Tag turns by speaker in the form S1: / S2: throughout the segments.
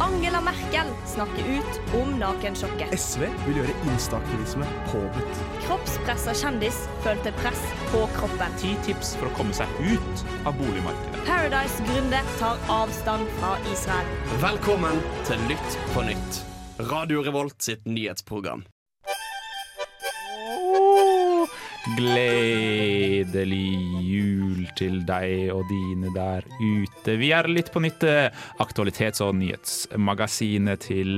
S1: Angela Merkel snakker ut om nakensjokket.
S2: SV vil gjøre instaktivisme påbudt.
S1: Kroppspressa kjendis følte press på kroppen.
S3: Ti tips for å komme seg ut av boligmarkedet.
S1: Paradise-gründer tar avstand fra Israel.
S4: Velkommen til Lytt på nytt. Radio Revolt sitt nyhetsprogram.
S3: Gledelig jul til deg og dine der ute. Vi er litt på nytt eh, aktualitets- og nyhetsmagasinet til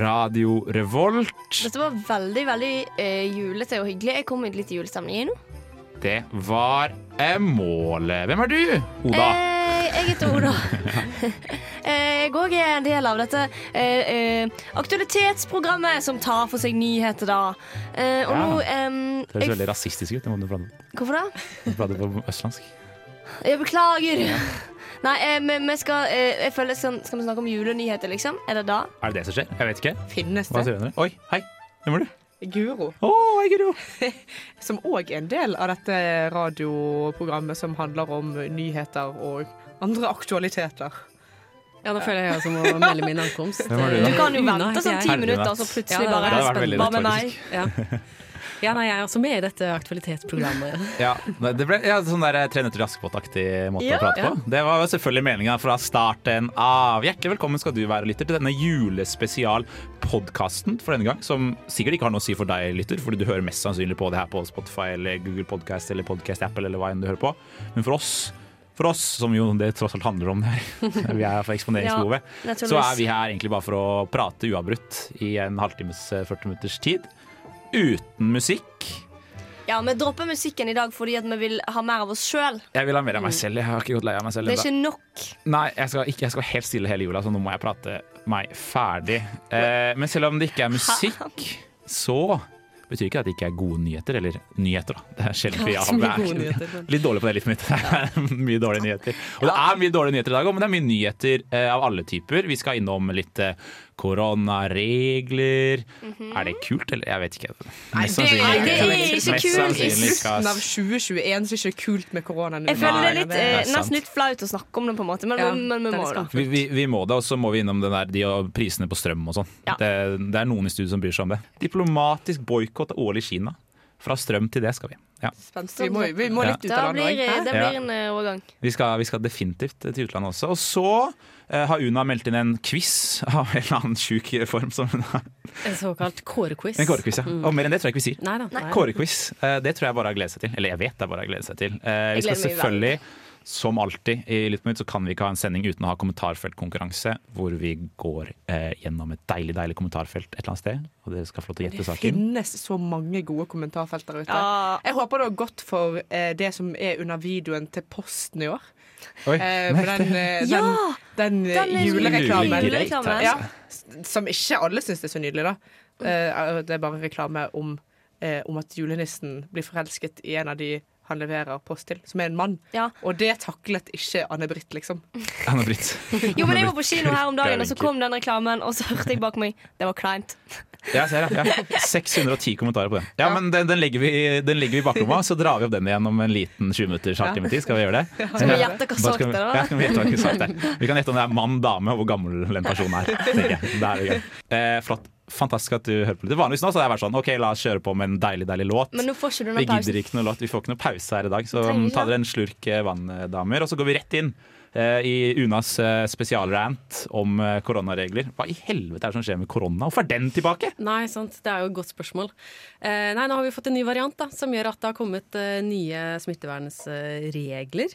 S3: Radio Revolt.
S5: Dette var veldig veldig eh, julete og hyggelig. Jeg kom i litt julestemning jeg nå.
S3: Det var eh, målet. Hvem er du, Oda?
S5: Eh, jeg heter Oda. eh, jeg òg er en del av dette eh, eh, aktualitetsprogrammet som tar for seg nyheter, da. Eh, og
S3: Ja.
S5: nå ehm,
S3: Det høres
S5: jeg,
S3: veldig rasistisk ut. Det må du prate-
S5: Hvorfor det?
S3: du prate på østlandsk.
S5: Jeg beklager. Nei, eh, men vi skal eh, Jeg føler skal, skal vi snakke om julenyheter, liksom? Er det da?
S3: Er det det som skjer? Jeg vet ikke.
S6: Finnes
S3: Hva
S6: det
S3: sier dere? Oi, hei. Hvem er du?
S6: Guro,
S3: Å, hei, Guro.
S6: som òg er en del av dette radioprogrammet som handler om nyheter og andre aktualiteter?
S7: Ja, nå føler jeg også må melde min ankomst.
S3: Hvem er du da?
S1: Du kan jo
S7: Una
S1: vente
S7: heter
S1: sånn
S7: jeg.
S1: ti
S3: Herre
S1: minutter,
S3: natt.
S1: og så plutselig
S7: Ja,
S1: bare
S7: det
S3: hadde vært veldig
S1: Hva med
S3: lett,
S1: meg?
S7: Ja. ja, nei, jeg er også med i dette aktualitetsprogrammet.
S3: Ja, nei, det ble ja, sånn der Tre nøtter til Askepott-aktig måte
S1: Ja.
S3: å prate
S7: Ja.
S3: på. Det var jo selvfølgelig meninga fra starten av. Hjertelig velkommen skal du være, lytter, til denne julespesial-podkasten for denne gang, som sikkert ikke har noe å si for deg, lytter, fordi du hører mest sannsynlig på det her på Spotify eller Google Podcast eller Podcast Apple eller hva enn du hører på. Men for oss for oss, som jo det tross alt handler om her, vi er for eksponeringsbehovet,
S5: Ja, naturligvis.
S3: så er vi her egentlig bare for å prate uavbrutt i en halvtimes, eh, 40 minutters tid. Uten musikk.
S5: Ja, vi dropper musikken i dag fordi at vi vil ha mer av oss sjøl.
S3: Jeg vil ha mer av meg
S7: Mm.
S3: selv. Jeg har ikke gått lei av meg selv
S5: Det er ikke
S3: ennå.
S5: nok.
S3: Nei, jeg skal, ikke, jeg skal helt stille hele jula, så nå må jeg prate meg ferdig. Eh, men selv om det ikke er musikk, så betyr ikke det at det ikke er gode nyheter. Eller nyheter, da. Det er sjelden vi
S7: Ja,
S3: har
S7: så mye
S3: vært-
S7: gode nyheter, men-
S3: Litt dårlig på det livet mitt. mye dårlige nyheter. Og det er mye dårlige nyheter i dag òg, men det er mye nyheter eh, av alle typer. Vi skal innom litt eh, koronaregler.
S7: Mhm.
S3: Er det kult, eller? Jeg vet ikke. Mest
S6: det er-
S3: sannsynlig
S6: det
S5: er
S3: ikke.
S5: ikke
S3: Mest
S5: kult.
S3: sannsynlig skal
S6: Slutten av 2021 så er det ikke kult med korona nå.
S5: Jeg føler det er
S3: Nei,
S5: litt,
S3: det er
S5: eh,
S3: sant.
S5: nesten litt flaut å snakke om det, på en måte, men,
S7: Ja,
S5: men, men
S7: det
S5: vi
S7: er
S5: må
S7: litt
S5: da.
S7: skamfullt.
S3: Vi, vi, vi må det, og så må vi innom den der, de og prisene på strøm og sånn.
S5: Ja.
S3: Det, det er noen i studio som bryr seg om det. Diplomatisk boikott av OL i Kina. Fra strøm til det skal vi. Ja.
S6: Vi må, vi må
S3: Ja.
S6: litt ut
S5: Da
S6: av den
S5: blir,
S6: òg.
S5: det
S3: Ja.
S5: blir en eh, overgang.
S3: Vi, skal, vi skal definitivt til utlandet også. Og så eh, har Una meldt inn en quiz av en eller annen sjuk form. Som hun har.
S7: En såkalt kårequiz. Mm.
S3: En kårequiz, ja. Og mer enn det tror jeg ikke vi sier.
S7: Nei da. nei.
S3: Kårequiz. eh, Det tror jeg bare har gledet seg til. Eller jeg vet det er bare å glede seg til. Eh, Vi skal
S5: gleder meg veldig.
S3: selvfølgelig, som alltid i Lytt på nytt, så kan vi ikke ha en sending uten å ha kommentarfeltkonkurranse, hvor vi går eh, gjennom et deilig, deilig kommentarfelt et eller annet sted, og dere skal få lov til å gjette
S6: Det
S3: saken.
S6: finnes så mange gode kommentarfelt der ute.
S5: Ja.
S6: Jeg håper det har gått for eh, det som er under videoen til Posten i år.
S3: Oi.
S6: Eh,
S3: Nei,
S6: med den, eh,
S5: Ja!
S6: den, den,
S5: Den
S6: eh,
S5: er- Julereklame.
S6: julereklamen.
S5: Julereklame.
S6: Ja, s- som ikke alle syns er så nydelig, da. Eh, det er bare reklame om, eh, om at julenissen blir forelsket i en av de han leverer post til, som er en mann.
S5: Ja.
S6: Og det taklet ikke Anne-Britt, liksom.
S3: Anne-Britt.
S5: Jo, men jeg var på kino her om dagen, og så
S3: Anne-Britt.
S5: kom den reklamen, og så hørte jeg bak meg Det var kleint.
S3: Jeg ser det. Ja. 610 kommentarer på den. Ja, men den, den, legger vi, den legger vi i baklomma, så drar vi opp den igjen om en liten 20 minutter, halvtime tid. Skal vi gjøre det?
S5: Skal vi gjette hva
S3: Bare skal
S5: sagt det
S3: vi- Ja,
S5: var?
S3: skal vi, gjette hva hun sagt der. vi kan gjette om det er mann, dame og hvor gammel den personen er. tenker jeg. Da er det gøy. Eh, flott. Fantastisk at du hører på. Det vanligvis nå så hadde jeg vært sånn OK, la oss kjøre på med en deilig, deilig låt.
S5: Men nå får ikke du
S3: Vi
S5: noen
S3: gidder
S5: pause.
S3: ikke noe låt. Vi får ikke noe pause her i dag, så mm,
S5: Trenger ikke
S3: ta
S5: det.
S3: dere en slurk eh, vann, eh, damer. Og så går vi rett inn eh, i Unas eh, spesialrant om eh, koronaregler. Hva i helvete er det som skjer med korona? Hvorfor er den tilbake?
S7: Nei, sant. Det er jo et godt spørsmål. Eh, nei, nå har vi fått en ny variant da, som gjør at det har kommet eh, nye smittevernregler.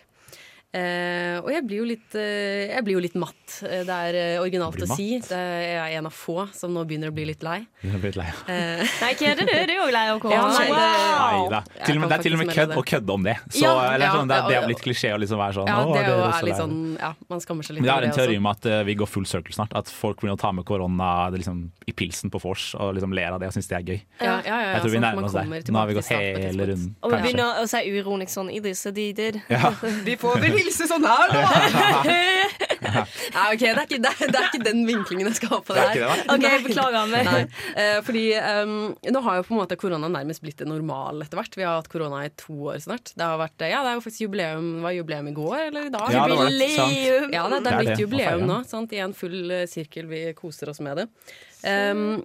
S7: Eh, og jeg blir jo litt, eh, jeg blir jo litt matt. Eh, Det er eh, originalt
S3: Blir
S7: å
S3: matt?
S7: si. Det er, jeg er en av få som nå begynner å bli litt lei.
S3: Jeg er blitt lei.
S7: Eh,
S5: Nei, ikke er det du? Du er jo lei av
S7: Ja,
S5: korona.
S7: nei, det-
S5: Wow!
S3: Neida. Til og
S7: Jeg
S3: med, det
S7: kan
S3: er til og med
S7: faktisk melde
S3: kødd
S7: det.
S3: å kødde om det. Så,
S7: Ja,
S3: eller,
S7: ja,
S3: sånn, det, er-
S7: det-
S3: det er blitt klisjé å liksom være sånn.
S7: ja,
S3: «Å,
S7: det
S3: er
S7: er jo
S3: dere også
S7: er litt
S3: lei?»
S7: sånn Ja, man skammer seg litt.
S3: Men jeg har
S7: over
S3: en
S7: det
S3: teori
S7: også.
S3: om at eh, vi går full circle snart. At folk begynner å ta med korona det liksom, i pilsen på vors og liksom ler av det og syns det er gøy.
S7: Ja, ja, ja, ja,
S3: Jeg tror vi
S7: sånn at
S3: nærmer
S7: man
S3: oss der.
S7: kommer
S3: Nå har
S7: tilbake
S3: vi gått
S7: til start på et
S3: hele
S7: tidspunkt.
S3: runden.
S5: Og vi
S3: Kanskje.
S5: begynner å si uronisk sånn Idris og Didid.
S3: Ja.
S6: De får vel hilse sånn her, da!
S7: Nei, ok, det er, ikke, det, er, det er ikke den vinklingen jeg skal ha på det
S3: Det er
S7: her.
S3: ikke
S5: OK, beklager. Men.
S7: Nei, eh, fordi ehm, nå har jo på en måte korona nærmest blitt det normale etter hvert. Vi har hatt korona i to år snart. Det har vært, eh, ja, det er jo faktisk jubileum, det var jubileum i går eller i dag.
S3: Ja, det var det. Sant.
S7: Ja, det, det
S3: Det
S7: er
S3: er
S7: blitt
S3: det. Å
S7: jubileum
S3: feire.
S7: nå. Sant? I en full eh, sirkel. Vi koser oss med det. Ehm,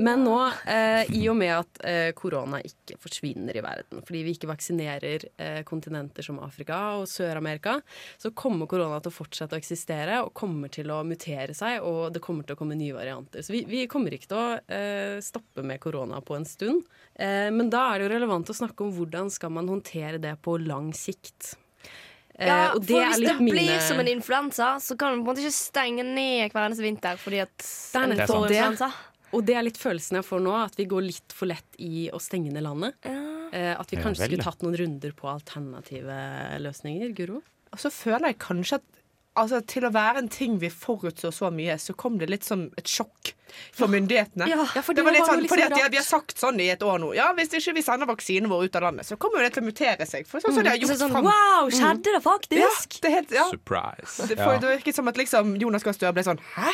S7: men nå, eh, i og med at eh, korona ikke forsvinner i verden, fordi vi ikke vaksinerer eh, kontinenter som Afrika og Sør-Amerika, så kommer korona til å fortsette å eksistere og kommer til å mutere seg, og det kommer til å komme nye varianter. Så vi, vi kommer ikke til å eh, stoppe med korona på en stund. Eh, men da er det jo relevant å snakke om hvordan skal man håndtere det på lang sikt. Eh,
S5: Ja,
S7: og
S5: for hvis det
S7: litt mine-
S5: blir som en influensa, så kan du på en måte ikke stenge ned hver eneste vinter fordi at
S7: er
S5: en
S7: nettopp
S5: får
S7: det.
S5: influensa.
S7: Og det er litt følelsen jeg får nå, at vi går litt for lett i å stenge ned landet. Eh, at vi
S3: Ja
S7: kanskje
S3: vel,
S7: skulle
S3: ja.
S7: tatt noen runder på alternative løsninger. Guro?
S6: Og så føler jeg kanskje at altså, til å være en ting vi forutså så mye, så kom det litt som et sjokk for myndighetene.
S5: Ja,
S7: for
S6: det
S7: det
S6: var litt
S7: var jo
S6: sånn,
S7: liksom
S6: fordi at de,
S7: rart.
S6: de har sagt sånn i et år nå. Ja, hvis ikke vi sender vaksinen vår ut av landet, så kommer jo det til å mutere seg. For sånn som de har
S5: Så det
S6: gjort
S5: er sånn,
S6: fram
S5: wow, skjedde det
S6: ja,
S5: faktisk?
S6: det er helt, ja.
S3: Surprise.
S6: Det, for,
S3: Ja.
S6: det virket som at liksom Jonas Gahr Støre ble sånn Hæ?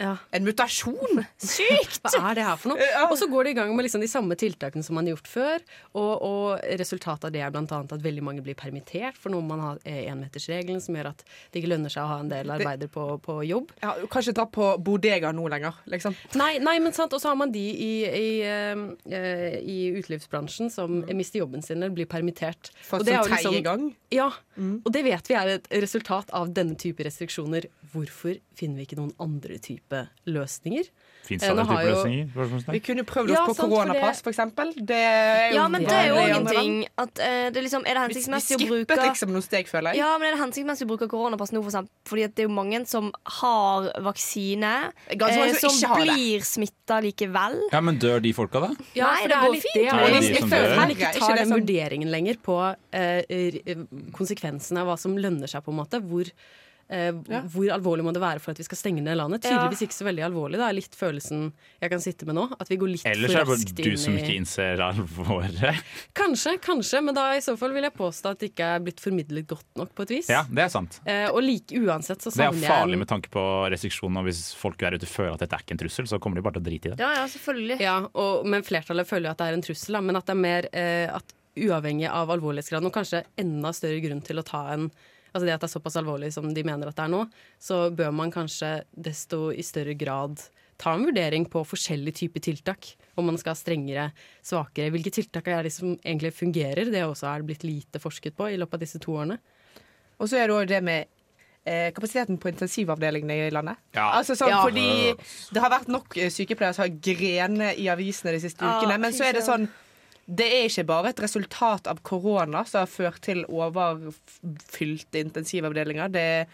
S7: Ja.
S6: En mutasjon?
S5: Sykt!
S7: Hva er det her for noe?
S6: Ja.
S7: Og så går de i gang med liksom de samme tiltakene som man har gjort før. Og, og resultatet av det er bl.a. at veldig mange blir permittert for noe man har eh, enmetersregelen som gjør at det ikke lønner seg å ha en del arbeider på, på jobb.
S6: Ja, du kan ikke dra på bodega nå lenger, liksom.
S7: Nei, nei, men sant, og så har man de i, i, eh, i utelivsbransjen som mister jobben sin eller blir permittert.
S6: For
S7: Og det er
S6: sånn
S7: jo liksom-
S6: tredje gang.
S7: Ja, og det vet vi er et resultat av denne type restriksjoner. Hvorfor finner vi ikke noen andre type løsninger?
S3: Fins
S7: Eh,
S3: det
S7: nå
S3: andre
S7: har
S3: typer
S7: jo-
S3: løsninger?
S6: Vi
S3: Spørsmålstegn.
S6: kunne prøvd oss
S7: Ja,
S6: på
S7: sant, for det-
S6: koronapass, for eksempel. Det er jo
S5: Ja, men det er jo
S6: vanlig
S5: òg
S6: i
S5: en
S6: andre
S5: ting
S6: land.
S5: at eh, det er liksom, Er det
S6: Vi, vi
S5: hensiktsmessig å bruke
S6: skippet liksom noen steg, føler jeg.
S5: Ja, men er det hensiktsmessig å bruke koronapass nå, for eksempel? Fordi at det er jo mange som har vaksine,
S6: Ganske
S5: eh,
S6: mange som
S5: som
S6: ikke har det.
S5: blir smitta likevel.
S3: Ja, men dør de folka, da?
S5: Nei,
S7: for
S5: det går
S7: litt
S5: fint.
S7: det,
S3: Nei,
S7: og
S3: det er
S7: jeg-
S3: de
S7: jeg
S3: som
S7: føler
S3: dør.
S7: at man ikke
S6: Ikke
S7: tar
S6: det
S7: den
S6: som-
S7: vurderingen lenger på eh, r- konsekvensene av hva som lønner seg, på en måte. Hvor, eh, hvor alvorlig må det være for at vi skal stenge ned landet?
S5: Ja.
S7: Tydeligvis ikke så veldig alvorlig. Det er litt følelsen jeg kan sitte med nå. At vi går litt
S3: Ellers er
S7: for
S3: det
S7: raskt
S3: bare du som
S7: inn
S3: ikke
S7: i
S3: innser alvoret.
S7: Kanskje, kanskje, men da i så fall vil jeg påstå at det ikke er blitt formidlet godt nok, på et vis.
S3: Ja, det er sant.
S7: Eh, og like uansett så
S3: Det er
S7: savner jeg
S3: farlig
S7: en-
S3: med tanke på restriksjoner. og Hvis folk der ute føler at dette er ikke en trussel, så kommer de bare til å drite i det.
S5: Ja, ja, selvfølgelig.
S7: Ja, og, men flertallet føler jo at det er en trussel, da, men at det er mer eh, at uavhengig av alvorlighetsgraden, og kanskje enda større grunn til å ta en Altså det at det er såpass alvorlig som de mener at det er nå, så bør man kanskje desto i større grad ta en vurdering på forskjellige typer tiltak. Om man skal ha strengere, svakere. Hvilke tiltak er det som egentlig fungerer? Det også er det blitt lite forsket på i løpet av disse to årene.
S6: Og så er det òg det med eh, kapasiteten på intensivavdelingene i landet.
S3: Ja.
S6: Altså sånn,
S7: Ja.
S6: Fordi det har vært nok eh, sykepleiere som har grenet i avisene de siste ukene. Men så er det sånn det er ikke bare et resultat av korona som har ført til overfylte intensivavdelinger. Det er,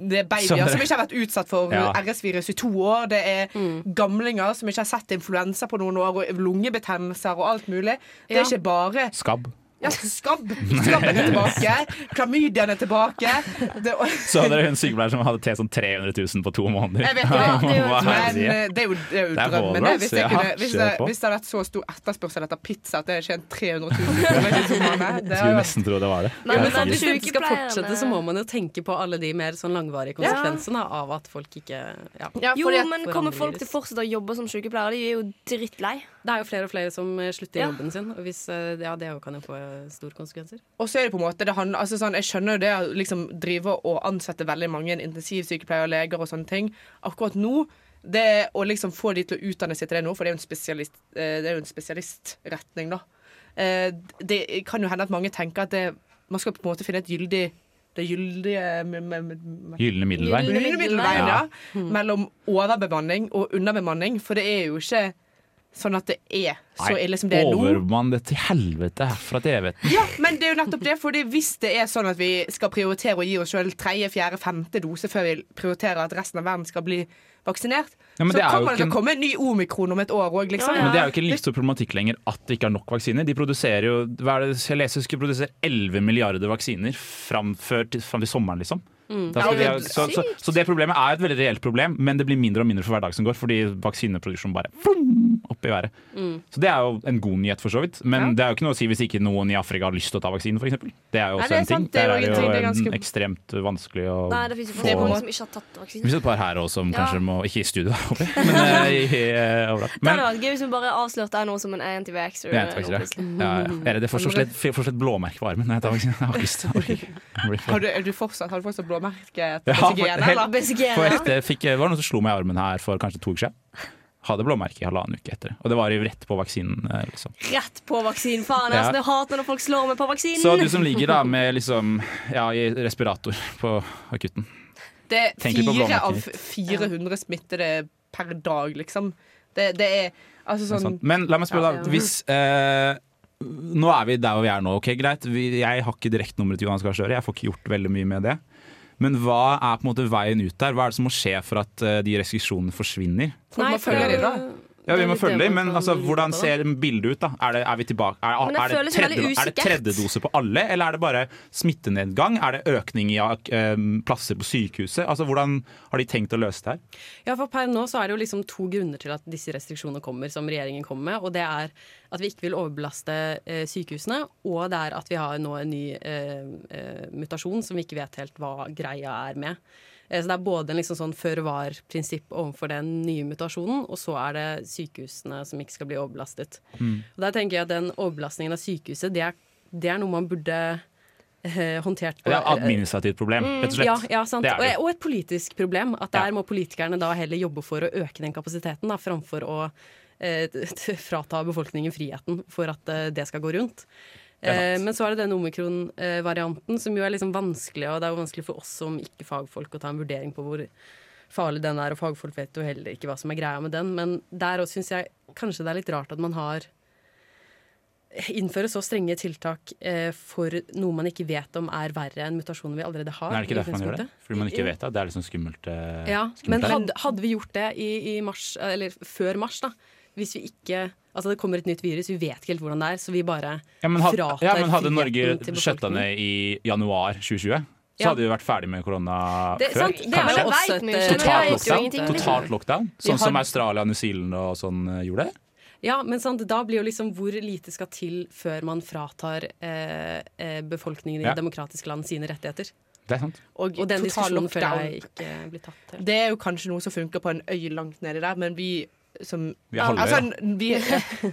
S6: det er babyer
S3: Som-
S6: som ikke har vært utsatt for
S3: Ja.
S6: RS-virus i to år. Det er
S7: Mm.
S6: gamlinger som ikke har sett influensa på noen år, og lungebetennelser og alt mulig. Det
S7: Ja.
S6: er ikke bare
S3: Skabb.
S6: ja, skabb. Skabben er tilbake. Klamydiaen er tilbake. Det,
S3: Så hadde dere en sykepleier som hadde tjent sånn 300 000 på to måneder.
S6: jeg vet
S3: Hva
S6: ikke, det, er jo,
S3: er det
S6: men
S3: jeg sier?
S6: eh, det er jo, det er jo
S3: Ah, Det er
S6: drømmen.
S3: målet,
S6: det. Hvis, jeg
S3: ja.
S6: kunne, hvis, det,
S3: Kjør på.
S6: hvis det hadde vært så stor etterspørsel etter pizza at det hadde tjent 300 000 kroner i to måneder det hadde
S3: Skulle
S6: vært-
S3: nesten tro det var det. liksom-
S5: Men-
S7: Ja,
S5: men
S7: men sant,
S5: sant,
S7: hvis det ikke skal
S5: sykepleierne-
S7: fortsette, så må man jo tenke på alle de mer sånn langvarige konsekvensene av at folk ikke ja.
S5: Jo,
S6: fordi at-
S5: men
S7: for
S5: kommer
S7: andre
S5: folk
S7: virus.
S5: til å fortsette å jobbe som sykepleiere? De er jo drittlei.
S7: Det er jo flere og flere som eh, slutter i
S5: Ja.
S7: jobben sin, og hvis, eh, ja, det jo kan jo få eh, store konsekvenser.
S6: Og så er det på en måte det handler, altså sånn, Jeg skjønner jo det å liksom drive og ansette veldig mange intensivsykepleiere og leger og sånne ting. Akkurat nå det å liksom få de til å utdanne seg til det nå, for det er jo en, spesialist, eh, det er jo en spesialistretning, da. Eh, Det kan jo hende at mange tenker at det, man skal på en måte finne et gyldig det gyldige med, med, med,
S3: Gylne middelvei.
S5: Gylne
S6: Gylne middelveien, ja. Mellom overbemanning og underbemanning. For det er jo ikke sånn at det er så
S3: Nei,
S6: ille som det er nå.
S3: overmann det til helvete herfra til evigheten.
S6: Ja, men det er jo nettopp det. Fordi hvis det er sånn at vi skal prioritere å gi oss sjøl tredje, fjerde, femte dose før vi prioriterer at resten av verden skal bli vaksinert.
S3: Ja, men
S6: så
S3: det er jo
S6: kommer det til
S3: ikke
S6: å
S3: en-
S6: komme en ny omikron om et år òg, liksom.
S3: Men det er jo ikke en livsstor problematikk lenger at det ikke er nok vaksiner. De produserer jo, hva er det, Jeg leser de skulle produsere 11 milliarder vaksiner fram, før, til, fram til sommeren, liksom. Da skal
S6: Mm. Ja,
S3: de
S6: det er
S3: ha- så, så, så det problemet er et veldig reelt problem, men det blir mindre og mindre for hver dag som går, fordi vaksineproduksjonen bare boom, opp i været.
S6: Mm.
S3: Så det er jo en god nyhet, for så vidt. Men det er jo ikke noe å si hvis ikke noen i Afrika har lyst til å ta vaksinen, f.eks. Det er jo
S6: Nei,
S3: også
S6: det er
S3: en ting.
S6: sant, det er
S3: Der
S6: jo
S3: er det
S6: en ting,
S3: jo
S6: det er
S3: en
S6: ganske-
S3: ekstremt vanskelig å
S5: Nei, det fins jo
S3: få
S5: folk som ikke har tatt
S3: Vi
S5: vaksine.
S3: ser et par her òg som
S5: Ja.
S3: kanskje må Ikke i studio, håper jeg, men eh, i, eh, overalt.
S5: Det
S3: Men-
S5: hadde vært gøy hvis vi bare avslørte her nå som en anti-vaxxer.
S3: Jeg vet faktisk det. Ja, ja. Jeg er redd jeg får så slett, får så slett blåmerke på armen. når Jeg tar vaksinen. Jeg har ikke lyst. Jeg orker ikke. Jeg blir for-
S6: Har du, er du fortsatt, har du fortsatt blåmerke
S3: Ja,
S6: etter
S3: for-
S6: hygiene,
S3: helt-
S6: eller?
S3: For
S5: BCG-ene.
S3: ekte, fikk, det var noen som slo meg i armen her for kanskje to uker siden. Hadde blåmerke i halvannen uke etter. Og det var jo rett på vaksinen. eh, Liksom.
S5: Rett på vaksinen. Faen, jeg
S3: Ja.
S5: altså, jeg hater når folk slår meg på vaksinen.
S3: Så du som ligger da med liksom, ja, i respirator på akutten.
S6: Det er
S3: Tenk litt på
S6: fire av
S3: blåmerken
S6: 400 smittede per dag, liksom. Det, det er altså
S3: Det er
S6: sånn
S3: sant. Men la meg spørre da, hvis eh, Nå er vi der hvor vi er nå, ok, greit. Vi, jeg har ikke direktenummeret til Jonas Gahr Støre, jeg får ikke gjort veldig mye med det. Men hva er på en måte veien ut der? Hva er det som må skje for at eh, de restriksjonene forsvinner?
S6: Folk må følge dem, da.
S3: Ja,
S7: Det
S3: vi
S7: er
S3: må
S7: litt
S3: følge
S7: det
S3: dem,
S7: man
S3: men
S7: kan
S3: altså,
S7: lure
S3: hvordan
S7: på, da.
S3: ser bildet ut? da? Er det, er vi tilbake? Er,
S5: Men
S3: er,
S5: det
S3: er, det
S5: føles veldig
S3: tredje, er det
S5: usikkert.
S3: tredje dose på alle, eller er det bare smittenedgang? Er det økning i eh, plasser på sykehuset? Altså, Hvordan har de tenkt å løse det her?
S7: Ja, for per nå så er det jo liksom to grunner til at disse restriksjonene kommer, som regjeringen kommer med. Og det er at vi ikke vil overbelaste eh, sykehusene, og det er at vi har nå en ny eh, eh, mutasjon som vi ikke vet helt hva greia er med. Eh, så det er både en liksom sånn før-var-prinsipp overfor den nye mutasjonen, og så er det sykehusene som ikke skal bli overbelastet. Og der tenker jeg at den overbelastningen av sykehuset, det er, det er noe man burde eh, håndtert på
S3: Det er administrativt problem, rett og slett.
S7: ja, ja, sant.
S3: Det er det.
S7: Og, og et politisk problem. At
S3: Ja.
S7: der må politikerne da heller jobbe for å øke den kapasiteten, da, framfor å eh, t- t- frata befolkningen friheten for at eh, det skal gå rundt.
S3: Det er
S7: Eh,
S3: sant.
S7: men så er det den omikron-varianten, som jo er liksom vanskelig, og det er jo vanskelig for oss som ikke-fagfolk å ta en vurdering på hvor farlig den er, og fagfolk vet jo heller ikke hva som er greia med den. Men der òg syns jeg kanskje det er litt rart at man har Innføre så strenge tiltak eh, for noe man ikke vet om er verre enn mutasjoner vi allerede har.
S3: Men er det ikke
S7: i
S3: derfor man gjør det?
S7: utgangspunktet?
S3: Fordi man ikke vet det? Det er litt sånn skummelt. eh,
S7: Ja, men
S3: skummelt der.
S7: hadde, hadde vi gjort det i, i mars, eller før mars, da Hvis vi ikke Altså, det kommer et nytt virus, vi vet ikke helt hvordan det er, så vi bare
S3: ja, men, had,
S7: fratar
S3: ja, men hadde
S7: friheten
S3: Norge
S7: til
S3: skjøtta
S7: befolkningen.
S3: ned i januar 2020, så
S7: Ja.
S3: hadde vi vært ferdig med korona
S7: Det,
S3: før.
S7: sant, det er vel
S5: Kanskje.
S7: også
S5: Men
S7: et
S5: det vet vi jo ikke, men jeg vet
S3: Totalt
S5: jo
S3: lockdown,
S5: ingenting.
S3: totalt lockdown
S7: Vi
S3: sånn som
S7: har-
S3: Australia, New Zealand og sånn eh, gjorde det.
S7: Ja, men sant, da blir jo liksom hvor lite skal til før man fratar eh, eh, befolkningen i
S3: Ja.
S7: demokratiske land sine rettigheter.
S3: Det er sant.
S6: og,
S7: Og den
S6: total
S7: diskusjonen føler
S6: lockdown.
S7: jeg ikke blir tatt. helt.
S6: Det er jo kanskje noe som funker på en øy langt nedi der, men vi som
S3: Vi er halvøya.
S6: altså, n- vi,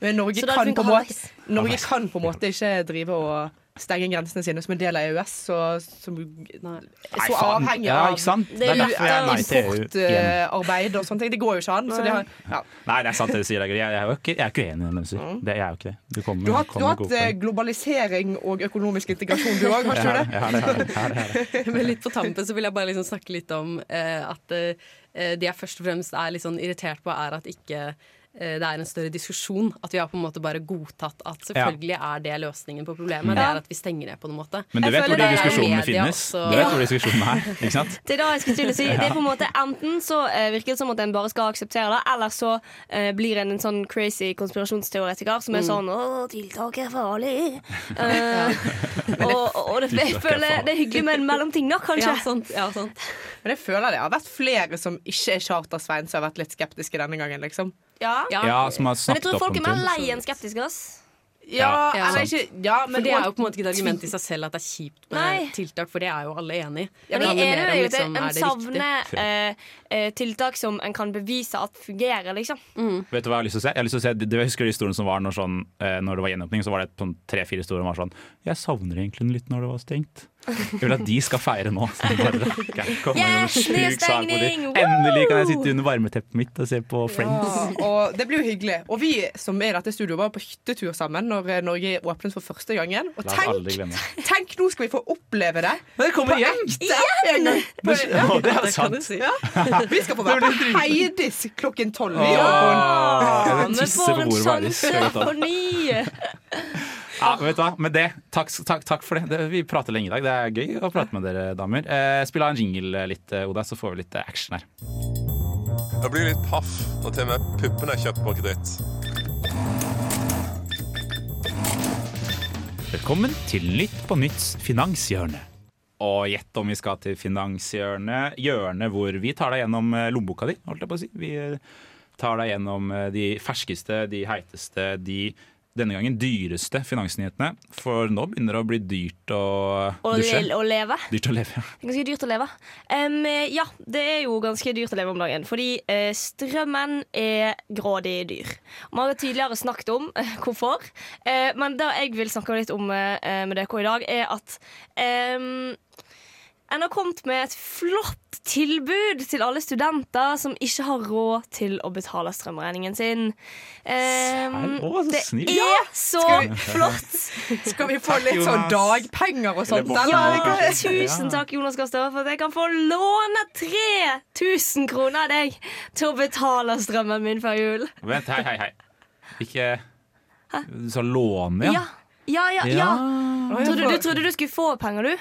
S6: men Norge
S5: Så da
S6: kan,
S5: funker
S6: på en måte,
S5: halvveis.
S6: Norge kan på en måte ikke drive og stenge grensene sine som en del av EØS, så, som,
S7: Nei.
S6: så
S3: faen.
S6: avhengig
S3: ja,
S6: av
S3: ikke sant? Det
S5: Det
S3: er
S5: er
S3: derfor jeg er nei til EU.
S5: eh,
S3: igjen.
S6: importarbeid og sånne ting. Det går jo ikke an. Så det har, ja.
S3: Nei, det er sant det du sier, Agri. Jeg, jeg, er jo ikke- jeg er ikke uenig i det du sier.
S5: Mm.
S3: Det, jeg er jo ikke det. Du kommer,
S6: Du har hatt, du
S3: kommer
S6: har
S3: god
S6: hatt eh,
S3: poeng.
S6: globalisering og økonomisk integrasjon, du òg, har
S3: Jeg
S6: ikke du
S3: har
S6: det?
S3: det, jeg har det, jeg har det, jeg har det, jeg har det.
S7: Men litt på tampen så vil jeg bare liksom snakke litt om eh, at eh, det jeg først og fremst er litt sånn irritert på, er at ikke eh, det er en større diskusjon. At vi har på en måte bare godtatt at selvfølgelig er det løsningen på problemet. Det er at vi stenger ned på en måte.
S3: Men du
S5: Jeg
S3: vet hvor
S5: føler
S3: de
S5: det er
S3: diskusjonene
S7: media
S3: finnes.
S7: også.
S3: Du vet hvor de diskusjonene er, ikke sant?
S5: Det er det jeg skulle til å si. Det er på en måte Enten så eh, virker det som at en bare skal akseptere det, eller så eh, blir en en sånn crazy konspirasjonsteoretiker som
S7: Mm.
S5: er sånn 'Å, tiltak er farlig'. Eh, og og det, jeg
S3: Tiltak er
S5: føler det er hyggelig med en mellomting, da, kanskje.
S7: Ja, sant, ja, sant.
S6: Men jeg føler det har vært flere som ikke er Charter-Svein, som har vært litt skeptiske denne gangen, liksom.
S5: Ja.
S7: Ja.
S3: Ja, som har
S5: Men jeg
S3: snakket
S5: tror
S3: opp om
S5: folk er mer
S3: ting.
S5: lei enn skeptiske. ass.
S6: Ja,
S7: Ja,
S6: eller
S3: sant.
S6: ikke Ja, men
S7: For det er jo på en måte ikke et argument i seg selv at det er kjipt med
S5: Nei.
S7: tiltak, for det er jo alle enig i.
S5: Men
S7: Det
S5: jeg
S7: handler
S5: er
S7: mer
S5: enig
S7: om
S5: i at
S7: liksom,
S5: en
S7: er det riktig?
S5: savner eh, eh, tiltak som en kan bevise at fungerer, liksom.
S3: Vet du hva jeg har lyst til å se? Jeg, har lyst til å se, du husker de historiene som var når, sånn, eh, når det var gjenåpning? Så var det et sånn tre-fire historier som var sånn Jeg savner egentlig litt når det var stengt. Jeg vil at de skal feire nå. Så de bare rakker. Kommer med en
S5: Yes,
S3: sjuk sak på de.
S5: nedstengning! Woo!
S3: Endelig kan jeg sitte under varmeteppet mitt og se på Friends.
S6: Ja, og det blir jo hyggelig. Og vi som er i dette studioet, var på hyttetur sammen når eh, Norge åpnes for første gangen. Og
S3: La oss aldri
S6: tenk,
S3: glemme.
S6: tenk, nå skal vi få oppleve det!
S3: Men det kommer igjen!
S6: En gang.
S3: Det, å, det er altså-
S7: Det kan
S3: sant.
S7: du si.
S6: Vi skal få være på Heidis klokken tolv. vi, og-
S7: Ah,
S3: Ja,
S5: Men for en sjanse på ny!
S3: Ja, vet du hva? Med det, takk, takk, takk for det. det. Vi prater lenge i dag. Det er gøy å prate med dere damer. Eh, spill av en jingle litt, eh, Oda, så får vi litt eh, action her.
S8: Jeg blir litt paff når til og med puppene er kjøpt på kreditt.
S3: Velkommen til Nytt på Nytts finanshjørne. Og gjett om vi skal til finanshjørnet, hjørnet hvor vi tar deg gjennom eh, lommeboka di, holdt jeg på å si. Vi eh, tar deg gjennom eh, de ferskeste, de heiteste, de denne gangen dyreste finansnyhetene. For nå begynner det å bli dyrt å eh,
S5: Å,
S3: dusje.
S5: le å leve.
S3: Dyrt å
S5: Det
S3: leve.
S5: er Ganske dyrt å leve. Em, ja, det er jo ganske dyrt å leve om dagen. Fordi eh, strømmen er grådig dyr. Og Vi har tidligere snakket om eh, hvorfor, eh, men det jeg vil snakke litt om eh, med dere i dag, er at em, en har kommet med et flott tilbud til alle studenter som ikke har råd til å betale strømregningen sin. Em,
S3: Serr? Å, så
S5: det
S3: snill.
S5: er så flott!
S6: Skal vi få litt sånn
S3: Jonas.
S6: dagpenger og sånt?
S3: Eller
S6: Eller?
S3: boks.
S5: Ja, tusen takk, Jonas Gahr Støre, for at jeg kan få låne 3000 kroner av deg til å betale strømmen min før jul.
S3: Vent, hei, hei, hei. Ikke Du sa låne, ja?
S5: Ja, ja, ja. ja. Trodde, du trodde du skulle få penger, du.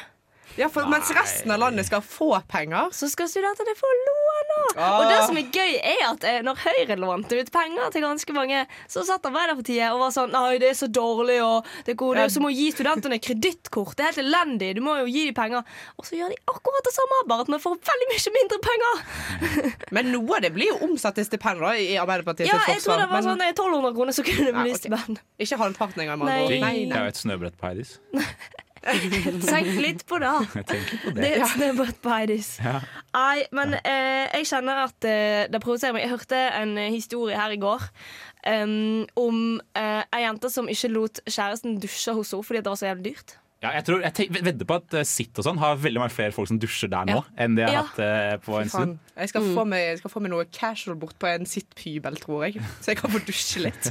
S6: Ja, for mens resten av landet skal få penger.
S5: Så skal studentene få låne. Og det som er gøy, er at eh, når Høyre lånte ut penger til ganske mange, så satt Arbeiderpartiet og var sånn Nei, det er så dårlig, og det er gode. Det er jo som å gi studentene kredittkort. Det er helt elendig. Du må jo gi dem penger. Og så gjør de akkurat det samme, bare at vi får veldig mye mindre penger.
S6: Men noe av det blir jo omsatt til stipend da, i Arbeiderpartiet
S5: Ja,
S6: sitt
S5: jeg tror
S6: forsvar.
S5: det var
S6: Men
S5: sånn eh, 1200 kroner, så kunne det
S6: Ja,
S5: bli
S6: ok.
S5: stipend.
S6: ikke halvparten engang. med
S5: Nei.
S6: andre ord.
S5: Nei,
S3: Det er jo et snøbrett på Heidis.
S5: Tenk litt på det.
S3: Jeg tenker på
S5: Det
S3: det.
S5: er et snøbrett på Heidis.
S3: Ja.
S5: Nei, men eh, jeg kjenner at eh, det provoserer meg. Jeg hørte en eh, historie her i går em, om eh, ei jente som ikke lot kjæresten dusje hos henne fordi det var så jævlig dyrt.
S3: Ja, jeg, tror, jeg tenk- vedder på at eh, Sitt og sånn har veldig mange flere folk som dusjer der nå,
S7: Ja.
S3: enn det jeg
S5: Ja.
S3: har hatt eh, på en
S6: Faen,
S3: stund.
S6: jeg skal,
S5: Mm.
S6: få meg, jeg skal få meg noe casual bort på en sittpybel, tror jeg. Så jeg kan få dusje litt.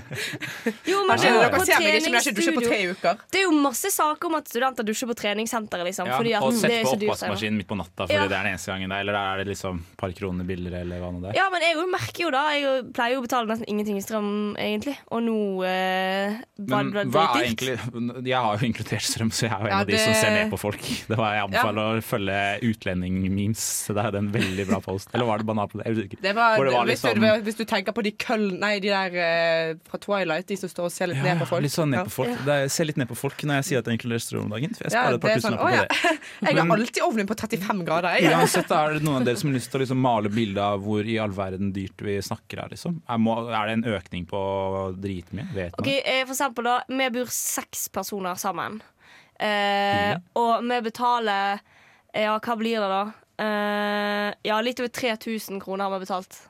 S5: Jo, men
S6: Kanskje
S5: det er jo
S6: dere
S5: på
S6: ser meg ikke, men Ah, jeg har ikke dusjet
S5: treningsstudio.
S6: på tre uker.
S5: Det er jo masse saker om at studenter dusjer på treningssenteret, liksom.
S3: Ja,
S5: fordi at
S3: og
S5: det
S3: sett
S5: er
S3: på
S5: så dyrt. der nå.
S3: oppvaskmaskinen midt på natta, fordi
S5: Ja.
S3: det er den eneste gangen der. Eller er det liksom et par kroner billigere, eller hva nå det er.
S5: Ja, men jeg jo merker jo da Jeg jo pleier jo å betale nesten ingenting i strøm, egentlig. Og nå eh, var det
S3: Men hva er
S5: dritdyrt.
S3: egentlig Jeg har jo inkludert strøm, så jeg er jo en
S6: Ja,
S3: av de som
S6: det-
S3: ser ned på folk. Det var Jeg anbefaler å følge utlending-memes. Det er en veldig bra post. Eller var det banan på det? Jeg vet ikke.
S6: Det var,
S3: Hvor det var
S6: hvis,
S3: liksom-
S6: du, hvis du tenker på de køll... Nei, de der eh, fra Twilight, de som står og ser litt
S3: Ja,
S6: ned på folk.
S3: litt sånn ned på folk. Det er- Jeg ser litt ned på folk når jeg sier at jeg inkluderer strøm om dagen. For jeg
S6: Ja,
S3: sparer et
S6: det
S3: par
S6: er sånn,
S3: tusenlapper
S6: å,
S3: på
S6: ja.
S3: det.
S6: Jeg har
S3: Men-
S6: alltid ovnen på 35 grader. Jeg.
S3: Uansett, er det noen av dere som har lyst til å liksom male bilde av hvor i all verden dyrt vi snakker her, liksom? Er, må, er det en økning på dritmye? Vet man?
S5: Ok, eh, For eksempel, da. Vi bor seks personer sammen. Eh, og vi betaler Ja, hva blir det, da? Eh, ja, litt over 3000 kroner har vi betalt.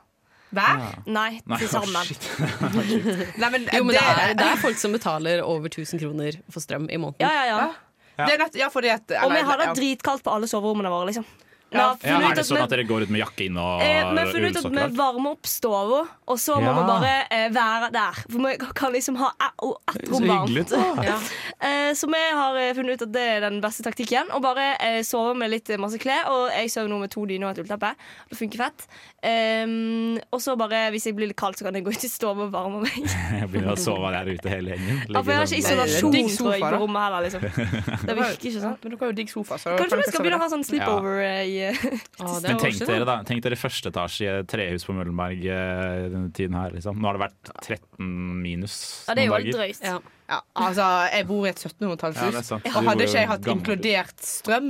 S6: Hver?
S5: Nei,
S3: Nei,
S5: til sammen.
S3: shit.
S6: Nei, men,
S7: Jo, men det er,
S6: det,
S7: det er folk som betaler over 1000 kroner for strøm i måneden.
S5: Ja, ja, ja.
S6: det er nett, ja, fordi at
S5: Og vi
S6: eller-
S5: har det
S6: ja.
S5: dritkaldt på alle soverommene våre, liksom. Vi
S6: Ja.
S5: har
S3: Ja,
S5: funnet
S3: er det
S5: ut
S3: sånn
S5: at
S3: at
S5: vi
S3: dere går ut med jakke inn og
S5: Eh, vi har funnet ut at vi
S3: ullsokker?
S5: varmer opp stua, og så må
S3: Ja.
S5: vi bare eh, være der. For vi kan liksom ha ett et
S3: Så
S5: rom
S3: hyggelig.
S5: varmt.
S3: da.
S5: Eh, Så vi har eh, funnet ut at det er den beste taktikken. Å bare eh, sove med litt eh, masse klær. Og jeg sover nå med to dyner og et ullteppe. Det funker fett. Ehm, og så bare, hvis jeg blir litt kald, så kan jeg gå ut i stua og varme meg.
S3: Jeg begynner å sove der ute hele gjengen.
S5: Ja, for jeg har ikke
S3: Ligger sånn-
S5: isolasjon
S6: Digg
S5: tror jeg,
S6: sofa, da.
S5: på rommet heller. Liksom. Det virker ikke sånn.
S6: Ja, Men dere har jo digg sofa, så
S5: Kanskje vi skal begynne å ha sånn
S3: Ja.
S5: sleepover eh, i eh,
S7: Ah, det er
S3: Men
S7: år
S3: tenk
S7: siden,
S3: dere
S7: da.
S3: da, tenk dere første etasje i et trehus på Møllenberg eh, denne tiden her. Liksom. Nå har det vært 13 minus
S5: Ja, det er jo
S3: noen
S5: helt
S3: dager.
S5: drøyt.
S7: Ja.
S6: Ja, altså, jeg bor i et 1700-tallshus.
S3: Ja, det er sant.
S6: Jeg-
S3: Du bor
S6: hadde
S3: jo
S6: ikke jeg hatt
S3: gammel.
S6: inkludert strøm,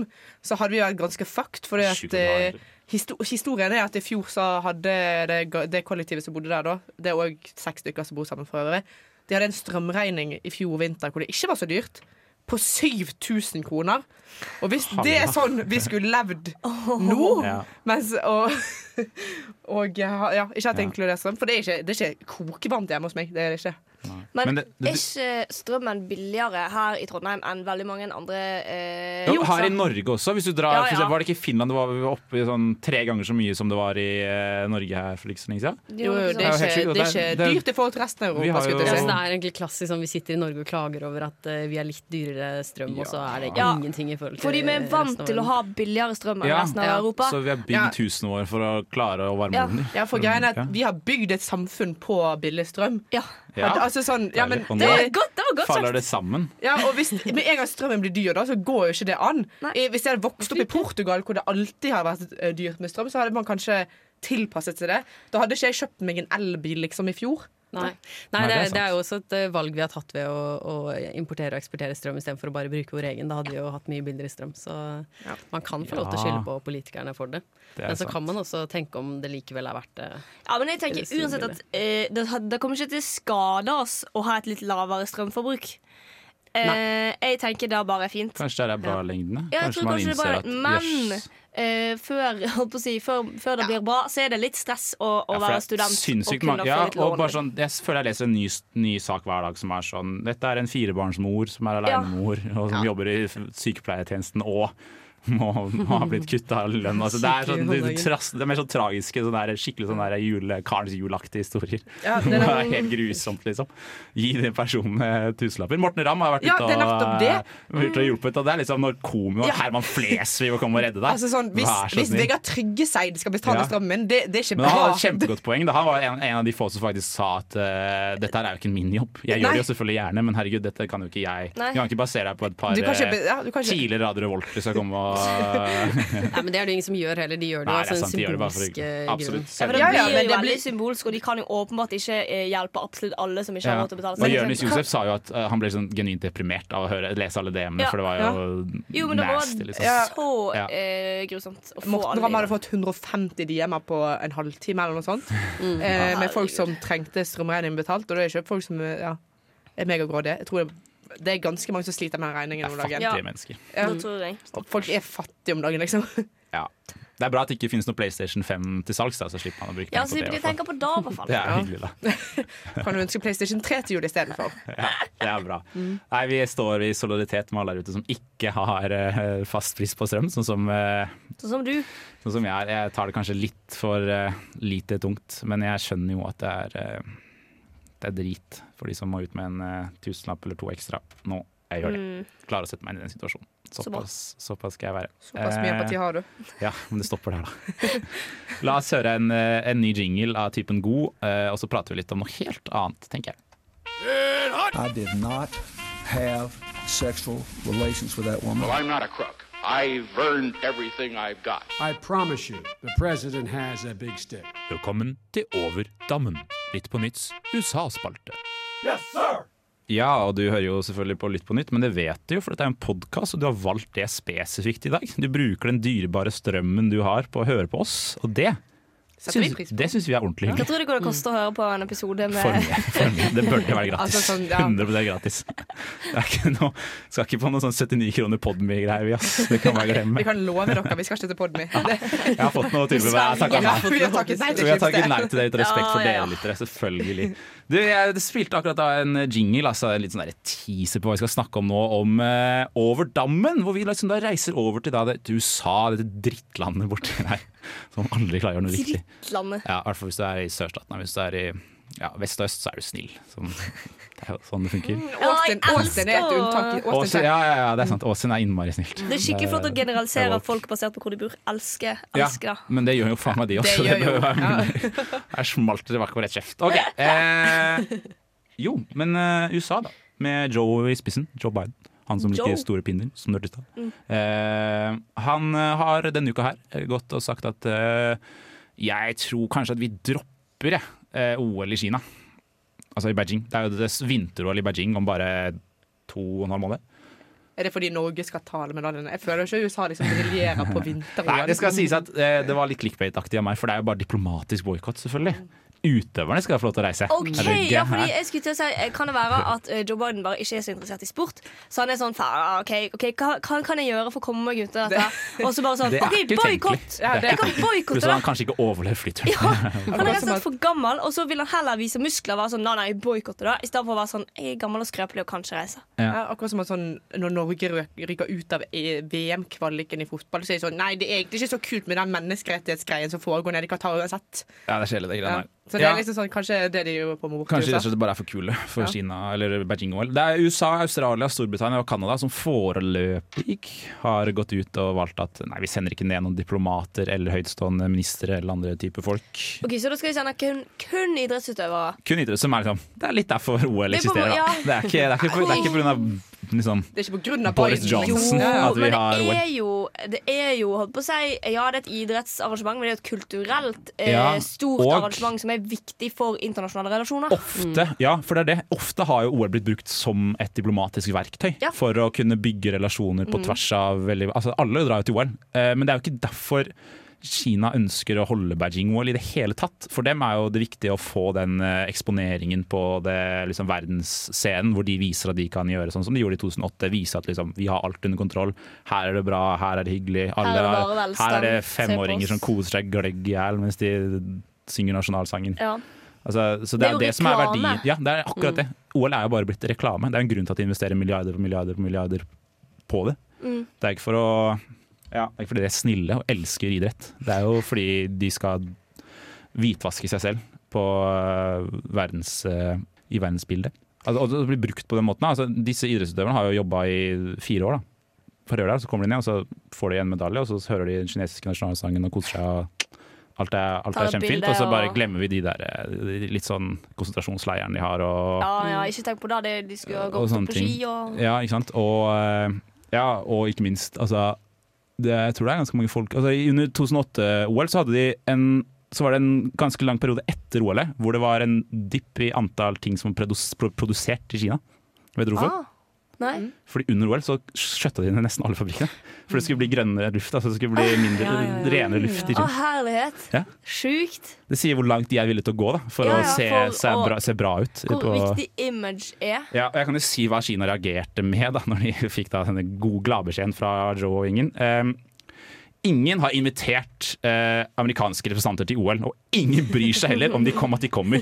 S6: så hadde vi vært ganske fucked. For
S3: Sjukt
S6: at, eh,
S3: hard.
S6: histo historien er at i fjor så hadde det, ga- det kollektivet som bodde der da, det er òg seks stykker som bor sammen for øvrig, de hadde en strømregning i fjor vinter hvor det ikke var så dyrt. På 7000 kroner. Og hvis det er sånn vi skulle levd nå
S3: Ja.
S6: mens, og, og ja, ja, ikke hatt
S3: Ja.
S6: inkludert strøm. For det er ikke, det er ikke kokevarmt hjemme hos meg. Det er det ikke.
S5: Men,
S3: Men det- det-
S5: er ikke strømmen billigere her i Trondheim enn veldig mange andre eh, jo,
S3: Jo, her i
S5: sant?
S3: Norge også. Hvis du drar,
S5: Ja,
S3: for
S5: ja.
S3: eksempel, Var det ikke i Finland det var, vi var oppe i sånn tre ganger så mye som det var i eh, Norge her for ikke så lenge siden?
S6: Jo, jo, det
S3: Ja,
S6: er
S3: helt
S6: ikke,
S3: sjukt, og
S6: det
S3: det er-
S6: er ikke
S3: det er-
S6: dyrt i forhold til resten av
S3: Vi har
S6: Europa. Skulle
S3: jo-
S6: jeg
S7: Ja, så
S6: til å
S7: det
S6: si.
S7: er egentlig klassisk sånn vi sitter i Norge og klager over at eh, vi har litt dyrere strøm, og så er det
S5: Ja.
S7: ingenting i forhold til
S5: Fordi vi er vant
S7: resten av
S5: til å
S7: verden.
S5: ha billigere strøm enn
S3: Ja.
S5: resten av
S7: Ja.
S5: Europa.
S3: Så vi har bygd
S6: Ja.
S3: husene våre for å klare å varme
S5: Ja.
S3: dem.
S6: Ja, for greien er at Vi har bygd et samfunn på billig strøm.
S5: Ja.
S3: Ja.
S6: Altså sånn, ja, men
S3: Deilig.
S6: det,
S5: Det var godt, det var godt
S3: Faller
S5: sagt.
S3: det sammen?
S6: ja, og hvis, Med en gang strømmen blir dyr, da, så går jo ikke det an.
S5: Nei.
S6: eh, I- Hvis jeg hadde vokst opp i Portugal, hvor det alltid har vært eh, dyrt med strøm, så hadde man kanskje tilpasset seg det. Da hadde ikke jeg kjøpt meg en elbil liksom i fjor.
S7: Nei,
S3: Nei,
S7: Nei det,
S3: det er
S7: er,
S3: sant.
S7: det er jo også et eh, valg vi har tatt ved å, å importere og eksportere strøm istedenfor å bare bruke vår egen. Da hadde vi jo hatt mye billigere strøm. Så man kan få lov
S3: Ja.
S7: til å skylde på politikerne for det.
S3: Det er
S7: Men så
S3: sant.
S7: kan man også tenke om det likevel er verdt det.
S5: Ja, men jeg tenker
S7: Eller
S5: uansett at eh, det, had- det kommer ikke til å skade oss å ha et litt lavere strømforbruk. Eh, jeg tenker det bare er fint.
S3: Kanskje det er bra lengdene?
S5: Ja, jeg
S3: kanskje
S5: tror
S3: man
S5: kanskje det er
S3: innser
S5: bra-
S3: at
S5: men-
S3: jøss,
S5: Eh, før, holdt på å si, før, før det blir bra, så er det litt stress å, å
S3: ja, for det
S5: være
S3: er
S5: student.
S3: sinnssykt
S5: kunne
S3: mange- ja,
S5: få litt
S3: og
S5: lån. liksom.
S3: bare sånn, Jeg føler jeg leser en ny, ny sak hver dag som er sånn Dette er en firebarnsmor som er
S5: Ja.
S3: alenemor, og som jobber i sykepleietjenesten og må, må ha blitt kutta lønn. Altså, det, er sånn, det, det, tras- det er mer sånn tragiske, sånn der, skikkelig sånn der jule, Karens julaktige historier.
S6: Ja,
S3: det
S6: det er
S3: er helt grusomt, liksom. Gi de personene tusenlapper. Morten Ramm har vært
S6: Ja, det
S3: ute
S6: er nettopp det.
S3: og, eh, vært og hjulpet, og det er liksom når komo og
S6: Ja.
S3: Herman Flesvig må komme og redde deg.
S6: Altså sånn, Hvis,
S3: Vær så
S6: hvis
S3: snill.
S6: Vegard Tryggeseid skal betale
S3: Ja.
S6: strømmen min, det, det er ikke
S3: Men han
S6: bra.
S3: hadde et kjempegodt poeng. Da. Han var en, en av de få som faktisk sa at eh, dette her er jo ikke min jobb. Jeg
S6: Nei.
S3: gjør det jo selvfølgelig gjerne, men herregud, dette kan jo ikke jeg.
S5: Nei.
S3: Du kan ikke basere deg på et par
S6: Du kan ikke be- ja, du kan ikke-
S3: eh, tidligere Radio Revolt som skal komme og
S7: Nei, men det er det jo ingen som gjør heller. De gjør det
S3: Nei,
S7: jo
S5: sånn
S3: det
S7: altså
S3: er
S7: en
S3: sant, de gjør det bare for
S7: symbolsk eh,
S3: ikke
S7: grunn.
S3: Absolutt.
S5: Ja, for
S3: Selv-
S5: det
S6: Ja,
S5: blir
S6: ja,
S5: jo
S6: men det
S5: veldig
S6: blir-
S5: symbolsk, og de kan jo åpenbart ikke eh, hjelpe absolutt alle som ikke
S3: Ja.
S5: har råd til å betale
S3: Og Jonis
S5: strøm.
S3: Josef sa jo at eh, han ble sånn genuint deprimert av å høre, lese alle DM-ene,
S5: Ja,
S3: for det var
S6: ja.
S3: jo,
S5: Jo, men det var
S3: nasty, liksom.
S5: så
S3: Ja.
S5: eh, grusomt å få
S6: Morten
S5: alle
S6: Ramm hadde
S5: i-
S6: fått 150 DM-er på en halvtime eller noe sånt.
S3: Mm.
S6: Eh, med folk som trengte strømregningen betalt. Og det er ikke folk som ja, er megagrådige. Jeg tror det, det er ganske mange som sliter med den regningen om
S3: Det er
S6: dagen.
S5: Ja.
S3: fattige mennesker.
S6: Ja.
S5: Det tror jeg.
S6: Og Folk er fattige om dagen, liksom.
S3: Ja. Det er bra at det ikke finnes noe PlayStation 5 til salgs, da, så slipper han å bruke
S5: Ja,
S3: den
S5: så
S3: på
S5: de
S3: det. i hvert fall.
S5: tenker på det, i hvert fall.
S3: Det er hyggelig, da.
S6: Kan du ønske PlayStation 3 til jul istedenfor?
S3: Ja, det er bra. Nei, Vi står i solidaritet med alle der ute som ikke har eh, fast pris på strøm, sånn som, eh,
S5: Sånn som du.
S3: sånn som jeg er. Jeg tar det kanskje litt for eh, lite tungt, men jeg skjønner jo at det er, eh, det er drit for de som må ut med en eh, tusenlapp eller to ekstra nå. Jeg gjør det.
S6: Mm.
S3: Klarer å sette meg inn i den situasjonen.
S5: Så bra.
S3: Såpass, såpass skal jeg være.
S6: Såpass mye
S3: Eh,
S6: empati har du.
S3: ja, men det stopper der, da. La oss høre en, eh, en ny jingle av typen god, eh, og så prater vi litt om noe helt annet, tenker jeg.
S9: I did not have sexual relations with that woman.
S10: Well, I'm not a crook. I've earned everything I've got.
S11: I promise you, the president has a big stick.
S3: Velkommen til Over dammen. Litt på nytts USA-spalte. Yes, sir! Ja, og du hører jo selvfølgelig på Lytt på nytt, men det vet du jo, for dette er en podkast, og du har valgt det spesifikt i dag. Du bruker den dyrebare strømmen du har på å høre på oss, og det
S6: Setter vi
S3: syns-
S6: pris på.
S3: det syns vi er ordentlig
S5: Hva
S3: hyggelig.
S5: tror du det kunne koste å høre på en episode
S3: For
S5: med
S3: mye. For mye. Det burde være gratis.
S6: Altså, sånn, ja.
S3: 100 gratis. Det er ikke noe, skal ikke på noe sånn 79 kroner Podme-greier, vi, ass. Det kan bare glemme.
S6: Vi kan love dere, vi skal ikke til Podmy. Det-
S3: Jeg har fått noe tilbud, men jeg har takket
S6: Ja,
S3: nei.
S6: vi har takket nei til
S3: Vi har takket
S6: Schibsted.
S3: nei til det ut av respekt for
S5: Ja, ja, ja.
S3: dere lyttere, selvfølgelig. Du, jeg spilte akkurat av en jingle, altså en litt sånn der teaser på hva vi skal snakke om nå, om eh, Over dammen, hvor vi liksom da reiser over til da det, til USA, dette drittlandet borti der, som aldri klarer å gjøre noe riktig.
S5: Drittlandet?
S3: Ja, I hvert fall hvis du er i sørstaten, hvis du er i ja, vest og øst, så er du snill. Sånn, det er jo sånn det funker.
S6: Austin,
S5: jeg elsker
S6: Austin er et
S5: å-
S6: unntak. Austin
S3: Åsen, ja, ja, ja, det er sant. Åsen er innmari snilt.
S5: Det er skikkelig flott å
S3: Det
S5: generalisere
S3: er lov.
S5: folk basert på hvor de bor. Elsker,
S3: Ja,
S5: elsker det.
S3: men det gjør jo faen meg de også. Det
S6: gjør jo-
S3: bør være mulig. Her smalt det tilbake på rett kjeft. Ok, eh, Jo, men eh, USA, da. Med Joe i spissen. Joe Biden. Han som
S5: Joe? Mm.
S3: liker store pinner, som du hørte i stad. Eh, han eh, har denne uka her eh, gått og sagt at eh, jeg tror kanskje at vi dropper jeg, eh, OL i Kina. Altså i Beijing. Det er jo det s- vinter-OL i Beijing om bare to og en halv måned.
S6: Er det fordi Norge skal ta alle medaljene? Jeg føler ikke USA liksom briljerer på vinter liksom.
S3: Nei, det skal sies at eh, det var litt clickbait-aktig av meg, for det er jo bare diplomatisk boikott, selvfølgelig. Utøverne skal få lov til å reise.
S5: Mm. OK!
S3: Er det
S5: Ja,
S3: gærent?
S5: fordi jeg skulle til å si eh, Kan det være at eh, Joe Biden bare ikke er så interessert i sport? Så han er sånn faen, ah, OK, ok, hva hva kan jeg gjøre for å komme meg ut av dette? Og så bare sånn
S3: Det er
S5: OK,
S3: ikke
S5: boikott!
S3: utenkelig.
S6: Ja, det-
S5: Jeg kan
S3: Pluss
S5: boikotte
S3: at
S5: det!
S3: han kanskje ikke sånn. overlever flyturen.
S5: Ja, han er rett og
S6: som
S5: slett for gammel, og så vil han heller vise muskler og være sånn nei, nei, boikotte det, istedenfor å være sånn jeg er gammel og skrøpelig og kan ikke reise.
S6: Ja, akkurat som at sånn, når Norge røk- ryker ut av E- VM-kvaliken i fotball, så er det sånn Nei, det er egentlig ikke så kult med den menneskerettighetsgreien som foregår nede i Qatar uansett.
S3: Ja, det er kjedelig, det
S6: Ja.
S3: greiene der.
S6: Så det
S3: Ja.
S6: er liksom sånn, kanskje det de gjør på med bort
S3: Kanskje
S6: til
S3: rett og
S6: USA.
S3: slett bare er for kule for Kina eller Beijing-OL. Det er USA, Australia, Storbritannia og Canada som foreløpig har gått ut og valgt at nei, vi sender ikke ned noen diplomater eller høytstående ministre eller andre typer folk.
S5: Ok, Så da skal vi sende kun, kun idrettsutøvere.
S3: Kun idrett som er liksom Det er litt derfor OL
S5: Det er på en
S3: eksisterer,
S5: må-
S3: da. Det er ikke, det er ikke, på- det er ikke pga. liksom
S6: Det er ikke på grunn av
S3: Boris
S6: Biden,
S3: Johnson.
S6: liksom. Ja,
S3: at vi
S5: men
S3: har
S5: det er jo, det er jo holdt på å si, Ja, det er et idrettsarrangement, men det er jo et kulturelt eh,
S3: Ja,
S5: stort
S3: og-
S5: arrangement som er viktig for internasjonale relasjoner.
S3: Ofte, ja, for det er det. Ofte har jo OL blitt brukt som et diplomatisk verktøy
S5: Ja.
S3: for å kunne bygge relasjoner på
S5: Mm.
S3: tvers av veldig, altså Alle drar jo til OL, eh, men det er jo ikke derfor Kina ønsker å holde Beijing-OL i det hele tatt. For dem er jo det viktig å få den eh, eksponeringen på det, liksom, verdensscenen, hvor de viser at de kan gjøre sånn som de gjorde i 2008. Vise at liksom, vi har alt under kontroll, her er det bra, her er det hyggelig. Alle,
S5: Her er det bare
S3: har-
S5: velstand,
S3: her er det
S5: se på oss.
S3: femåringer som koser seg gløgg i hjel mens de synger nasjonalsangen.
S5: Ja.
S3: Altså, så
S5: Det er
S3: det er
S5: jo
S3: det, som er
S5: reklame. Mm.
S3: verdien. Ja, det er akkurat det. OL er jo bare blitt reklame. Det er jo en grunn til at de investerer milliarder og milliarder og milliarder på det.
S5: Mm.
S3: Det er ikke for å ja, det er ikke fordi de er snille og elsker idrett. Det er jo fordi de skal hvitvaske seg selv på øh, verdens, øh, i verdensbildet. Altså, og det blir brukt på den måten. da. Altså, disse idrettsutøverne har jo jobba i fire år. da. For øl, så kommer de ned, og så får de en medalje, og så hører de den kinesiske nasjonalsangen og koser seg. og Alt er, alt
S5: Tar
S3: er
S5: et
S3: kjempefint,
S5: bilde,
S3: og så bare
S5: og-
S3: glemmer vi de der øh, litt sånn konsentrasjonsleirene de har. Og,
S5: Ja, ja, ikke tenk på det. det de skulle ha
S3: Mm. og
S5: gått
S3: sånne
S5: på
S3: ting.
S5: ski og
S3: Ja, ikke sant? Og, eh, ja, og ikke minst, altså det, Jeg tror det er ganske mange folk altså, i- Under 2008-OL så hadde de en så var det en ganske lang periode etter OL hvor det var en dipp i antall ting som var produs pro produsert i Kina. Vet dere hvorfor?
S5: Ah, Nei.
S3: Fordi under OL så skjøtta de ned nesten alle fabrikkene. For det skulle bli grønnere luft. Altså det skulle bli
S5: Ah,
S3: mindre,
S5: Ja, ja, Ah. ja.
S3: renere luft
S5: Å,
S3: i Kina.
S5: herlighet.
S3: Ja.
S5: Sjukt.
S3: Det sier hvor langt de er villige til å gå da, for
S5: Ja, ja,
S3: å se,
S5: for
S3: se,
S5: å-
S3: bra, se bra ut.
S5: Hvor
S3: på-
S5: viktig image er.
S3: Ja, og jeg kan jo si hva Kina reagerte med da når de fikk da denne gode gladbeskjeden fra Joe og Ingen. Um, ingen har invitert eh, amerikanske representanter til OL, og ingen bryr seg heller om de kom at de kommer,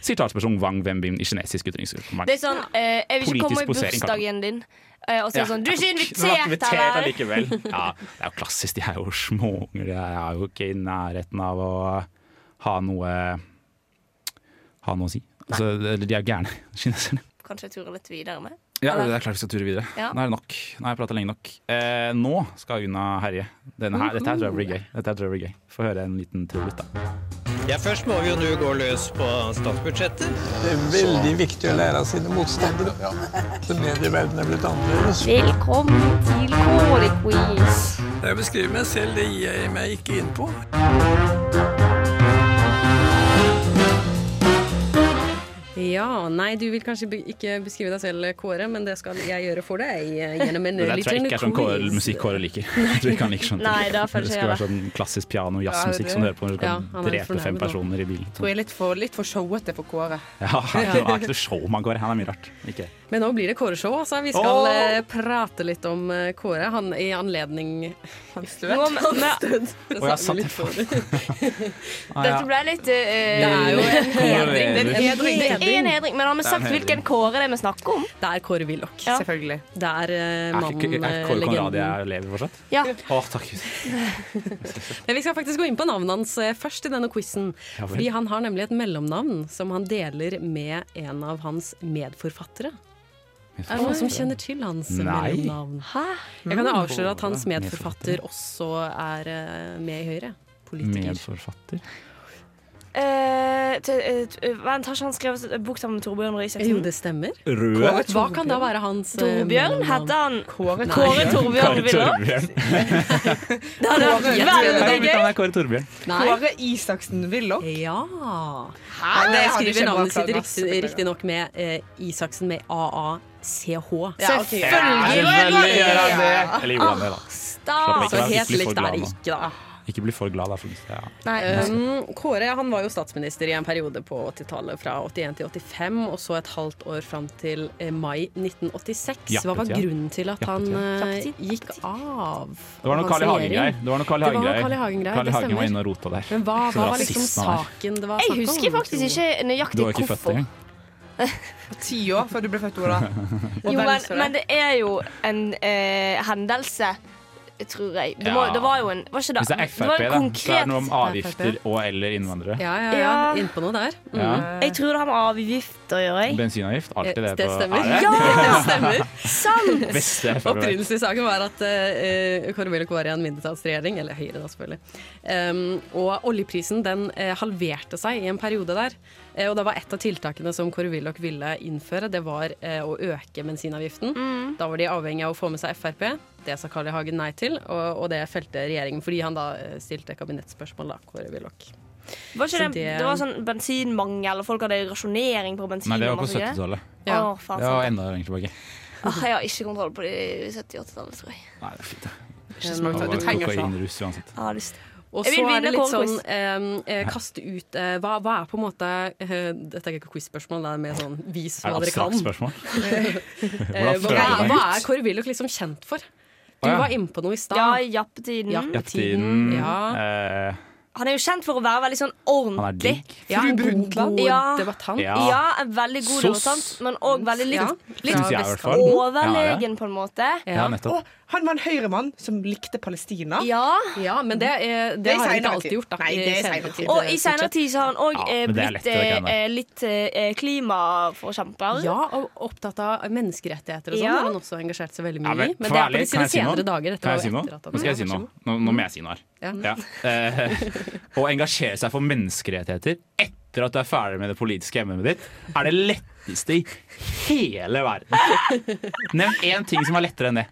S3: sier talsperson Wang Wenbin i kinesisk
S5: Det
S3: utenriksdepartement.
S5: er sånn eh, Jeg vil ikke komme i
S3: Politisk posering, kanskje.
S5: bursdagen din. Eh, og så er det sånn Du er ikke
S3: Du var ikke
S5: invitert,
S3: invitert
S5: eller?
S3: allikevel. Ja, det er jo klassisk, de er jo småunger, de er jo ikke i nærheten av å ha noe ha noe å si. Altså, eller de er gærne, kineserne.
S5: Kanskje jeg turer litt videre med?
S3: Ja,
S5: Eller?
S3: det er klart vi skal ture videre.
S5: Ja.
S3: Nå er det nok. Nå har jeg prata lenge nok. Eh, nå skal Una herje. Denne her, dette her tror jeg blir gøy. Dette her tror jeg blir gøy. Få høre en liten trudelutt, da.
S12: Ja, først må vi jo nå gå løs på statsbudsjettet.
S9: Det er veldig viktig å lære av sine motstandere. Så medieverdenen er blitt annerledes.
S1: Velkommen til Kårequiz.
S9: Jeg beskriver meg selv, det gir jeg meg ikke inn på.
S7: Ja, nei, du vil kanskje be ikke beskrive deg selv, Kåre, men det skal jeg gjøre for deg eh, gjennom en
S3: Det der tror jeg
S7: liten
S3: ikke er sånn Kåre,
S7: quiz.
S3: musikk Kåre liker. Jeg tror ikke han liker sånn
S7: Nei, da får jeg
S3: Det
S7: gjøre
S3: skulle være sånn klassisk piano- og jazzmusikk som du hører på når du
S6: Ja,
S3: kan
S6: han er
S3: drepe
S6: fornærmet
S3: fem
S6: nå.
S3: personer i bilen.
S6: Tror jeg er litt for, litt for showete for Kåre.
S3: Ja, han er ikke noe showman, Kåre. Han er mye rart. Ikke.
S7: Men nå blir det Kåre-show, altså. Vi skal
S3: Åh!
S7: eh, prate litt om eh, Kåre han, i anledning Hans
S5: Nå må- nå-
S7: Og
S3: Og jeg satt Ah, ja.
S5: Dette ble litt eh,
S7: Det er jo en hedring.
S5: Det er en hedring. Det er en hedring. Men har vi
S7: Det er en
S5: sagt
S7: hedring.
S5: hvilken Kåre det er vi snakker om?
S7: Det er Kåre Willoch.
S5: Ja.
S6: Selvfølgelig.
S7: Det er eh,
S3: Er ikke
S7: mannen,
S3: er
S7: eh,
S3: Kåre Conradi
S7: legenden.
S3: jeg lever fortsatt?
S5: Ja.
S3: Å, takk Gud.
S7: Men vi skal faktisk gå inn på navnet hans eh, først i denne quizen.
S3: Ja vel.
S7: Fordi han har nemlig et mellomnavn som han deler med en av hans medforfattere. Er det noen som kjenner til hans
S3: Nei.
S7: mellomnavn? Jeg kan jo avsløre at hans medforfatter også er eh, med i Høyre. Politiker.
S3: Medforfatter.
S5: Eh, t- eh, t- eh, Vent, har ikke han skrevet et bok sammen med Torbjørn Røe Isaksen?
S7: Jo, det stemmer.
S3: Røe?
S7: Hva kan da være hans eh,
S5: Torbjørn
S7: mellomnavn?
S5: heter han.
S6: Kåre,
S5: Kåre Torbjørn Willoch. Det hadde vært
S6: Kåre-
S5: veldig
S3: Nei,
S5: gøy.
S3: han er Kåre Torbjørn.
S6: Kåre Isaksen Willoch.
S7: Ja.
S6: Hæ?
S7: Nei, jeg
S6: Hadde ikke
S7: skriver navnet
S6: baklag,
S7: sitt
S6: ass.
S7: riktig, riktig nok med eh, Isaksen med AACH.
S6: Ja, ok. Selvfølgelig
S3: Selvfølgelig gjør han det!
S7: Ja.
S3: Eller gjorde han det, da? Slapp
S7: Ah,
S3: ikke
S7: så
S3: av,
S7: helt
S3: ikke bli for
S7: likt er
S3: glad
S7: det
S3: nå.
S7: ikke, da.
S3: Ikke bli for glad, da. For ja.
S7: Um, Kåre han var jo statsminister i en periode på 80-tallet, fra 81 til 85, og så et halvt år fram til eh, mai 1986. Hva var
S3: Jappetid.
S7: grunnen til at han eh,
S3: Jappetid,
S7: gikk av?
S3: Det var noe Carl I.
S7: Hans
S3: Hagen-greier.
S7: regjering?
S3: Det var noe Carl I.
S7: Det var noe
S3: Hagen-greier.
S7: Carl I. Hagen-greier,
S3: Carl I.
S7: det
S3: Hagen var
S7: stemmer.
S3: inne og rota der.
S7: Men hva,
S3: Så
S7: hva var liksom
S3: rasisten han er.
S7: saken det var
S5: Jeg
S7: snakk om?
S5: husker faktisk ikke
S3: Du var
S5: nøyaktig
S3: ikke født
S5: hvorfor.
S3: engang.
S6: Ti år før du ble født, Ola. Og
S5: Jo,
S6: vel
S5: men,
S6: så det.
S5: men det er jo en eh, hendelse, tror jeg. Det, må,
S3: Ja.
S5: det var jo en Var ikke det?
S3: Hvis det er
S5: var en
S3: Frp, da, så
S5: konkret-
S3: er det noe om avgifter og eller innvandrere.
S7: Ja, ja, ja.
S5: Ja.
S7: Innpå noe der. Mm.
S3: Ja.
S5: Jeg tror det har med avgift å gjøre. jeg.
S3: Bensinavgift, alltid det.
S7: Det
S3: på-
S7: stemmer.
S3: Er det?
S7: Ja, det stemmer.
S5: Sant!
S3: Beste Frp.
S7: Opprinnelsessaken var at uh, Kåre Willoch var i en mindretallsregjering, eller Ehm, Høyre da selvfølgelig. Um, og oljeprisen den eh, halverte seg i en periode der. Eh, Og da var et av tiltakene som Kåre Willoch ville innføre, det var eh, å øke bensinavgiften.
S5: Mm.
S7: Da var de avhengig av å få med seg Frp. Det sa Carl I. Hagen nei til, og, og det felte regjeringen fordi han da eh, stilte kabinettspørsmål, da, Kåre Willoch.
S5: Var ikke
S7: Så
S5: det,
S7: det-
S5: det var sånn bensinmangel, og folk hadde rasjonering på bensin.
S3: Nei, det var
S5: og
S3: på
S5: masse greier.
S3: 70-tallet.
S5: Å, faen,
S3: det var
S5: sant.
S3: enda lenger tilbake.
S5: Åh, Ah, jeg har ikke kontroll på de 70-80-tallet, tror jeg.
S3: Nei, det er fint, det.
S5: Ikke
S7: Eh,
S5: smart.
S3: Det var
S5: Det trenger sånn ikke.
S3: kokainrus uansett.
S5: Jeg har lyst.
S7: Og
S5: Jeg
S7: så
S5: vil
S7: er
S5: vinne
S7: det litt sånn
S5: kålquiz.
S7: eh, eh, kaste ut eh, hva, hva er på en måte eh, Dette er ikke quiz-spørsmål, det er mer sånn vis
S3: Er
S7: hva
S3: det
S7: dere kan.
S3: abstrakt spørsmål?
S7: Eh,
S3: Hvordan føler
S7: hva,
S3: du
S7: hva
S3: deg?
S7: er Kåre Willoch liksom kjent for? Du
S3: Å, ja.
S7: var inne på noe i stad.
S5: Ja, jappetiden.
S3: Jappetiden.
S7: Ja.
S3: eh,
S5: Han er jo kjent for å være veldig sånn ordentlig.
S3: digg.
S7: Ja, en god
S5: Ja.
S7: debattant.
S5: Ja. en veldig god
S3: Sos.
S5: debattant, men òg veldig litt,
S6: Ja.
S5: litt
S3: Synes jeg i hvert fall. Ja,
S5: overlegen, på en måte.
S3: Ja, nettopp.
S6: Og han var en høyremann som likte Palestina.
S5: Ja.
S7: Ja, men det, eh, det,
S6: Det er
S7: har han
S6: senere
S7: ikke alltid
S6: tid.
S7: gjort. Da.
S6: Nei, det er
S7: I senere
S6: senere tid.
S7: eh,
S5: Og i senere tid så har han òg
S3: Ja,
S5: eh,
S3: men det er
S5: blitt
S3: lett, det
S5: eh,
S3: kan jeg.
S5: eh, litt eh, klimaforkjemper.
S7: Ja, og opptatt av menneskerettigheter og sånn
S5: Ja,
S7: har han også engasjert seg veldig mye
S3: Ja, men,
S7: i. Men
S3: for
S7: det
S3: å
S7: er
S3: være
S7: på
S3: ærlig,
S7: de
S3: kan
S7: sine
S3: jeg si noe?
S7: senere dager. Dette
S3: Kan jeg
S7: var
S3: si
S7: jo
S3: noe?
S7: etter at han-
S3: Nå skal jeg si noe. Nå, nå må jeg si noe her.
S7: Ja.
S3: Ja. Eh, å engasjere seg for menneskerettigheter etter at du er ferdig med det politiske hjemmet ditt, er det letteste i hele verden. Nevn én ting som er lettere enn det.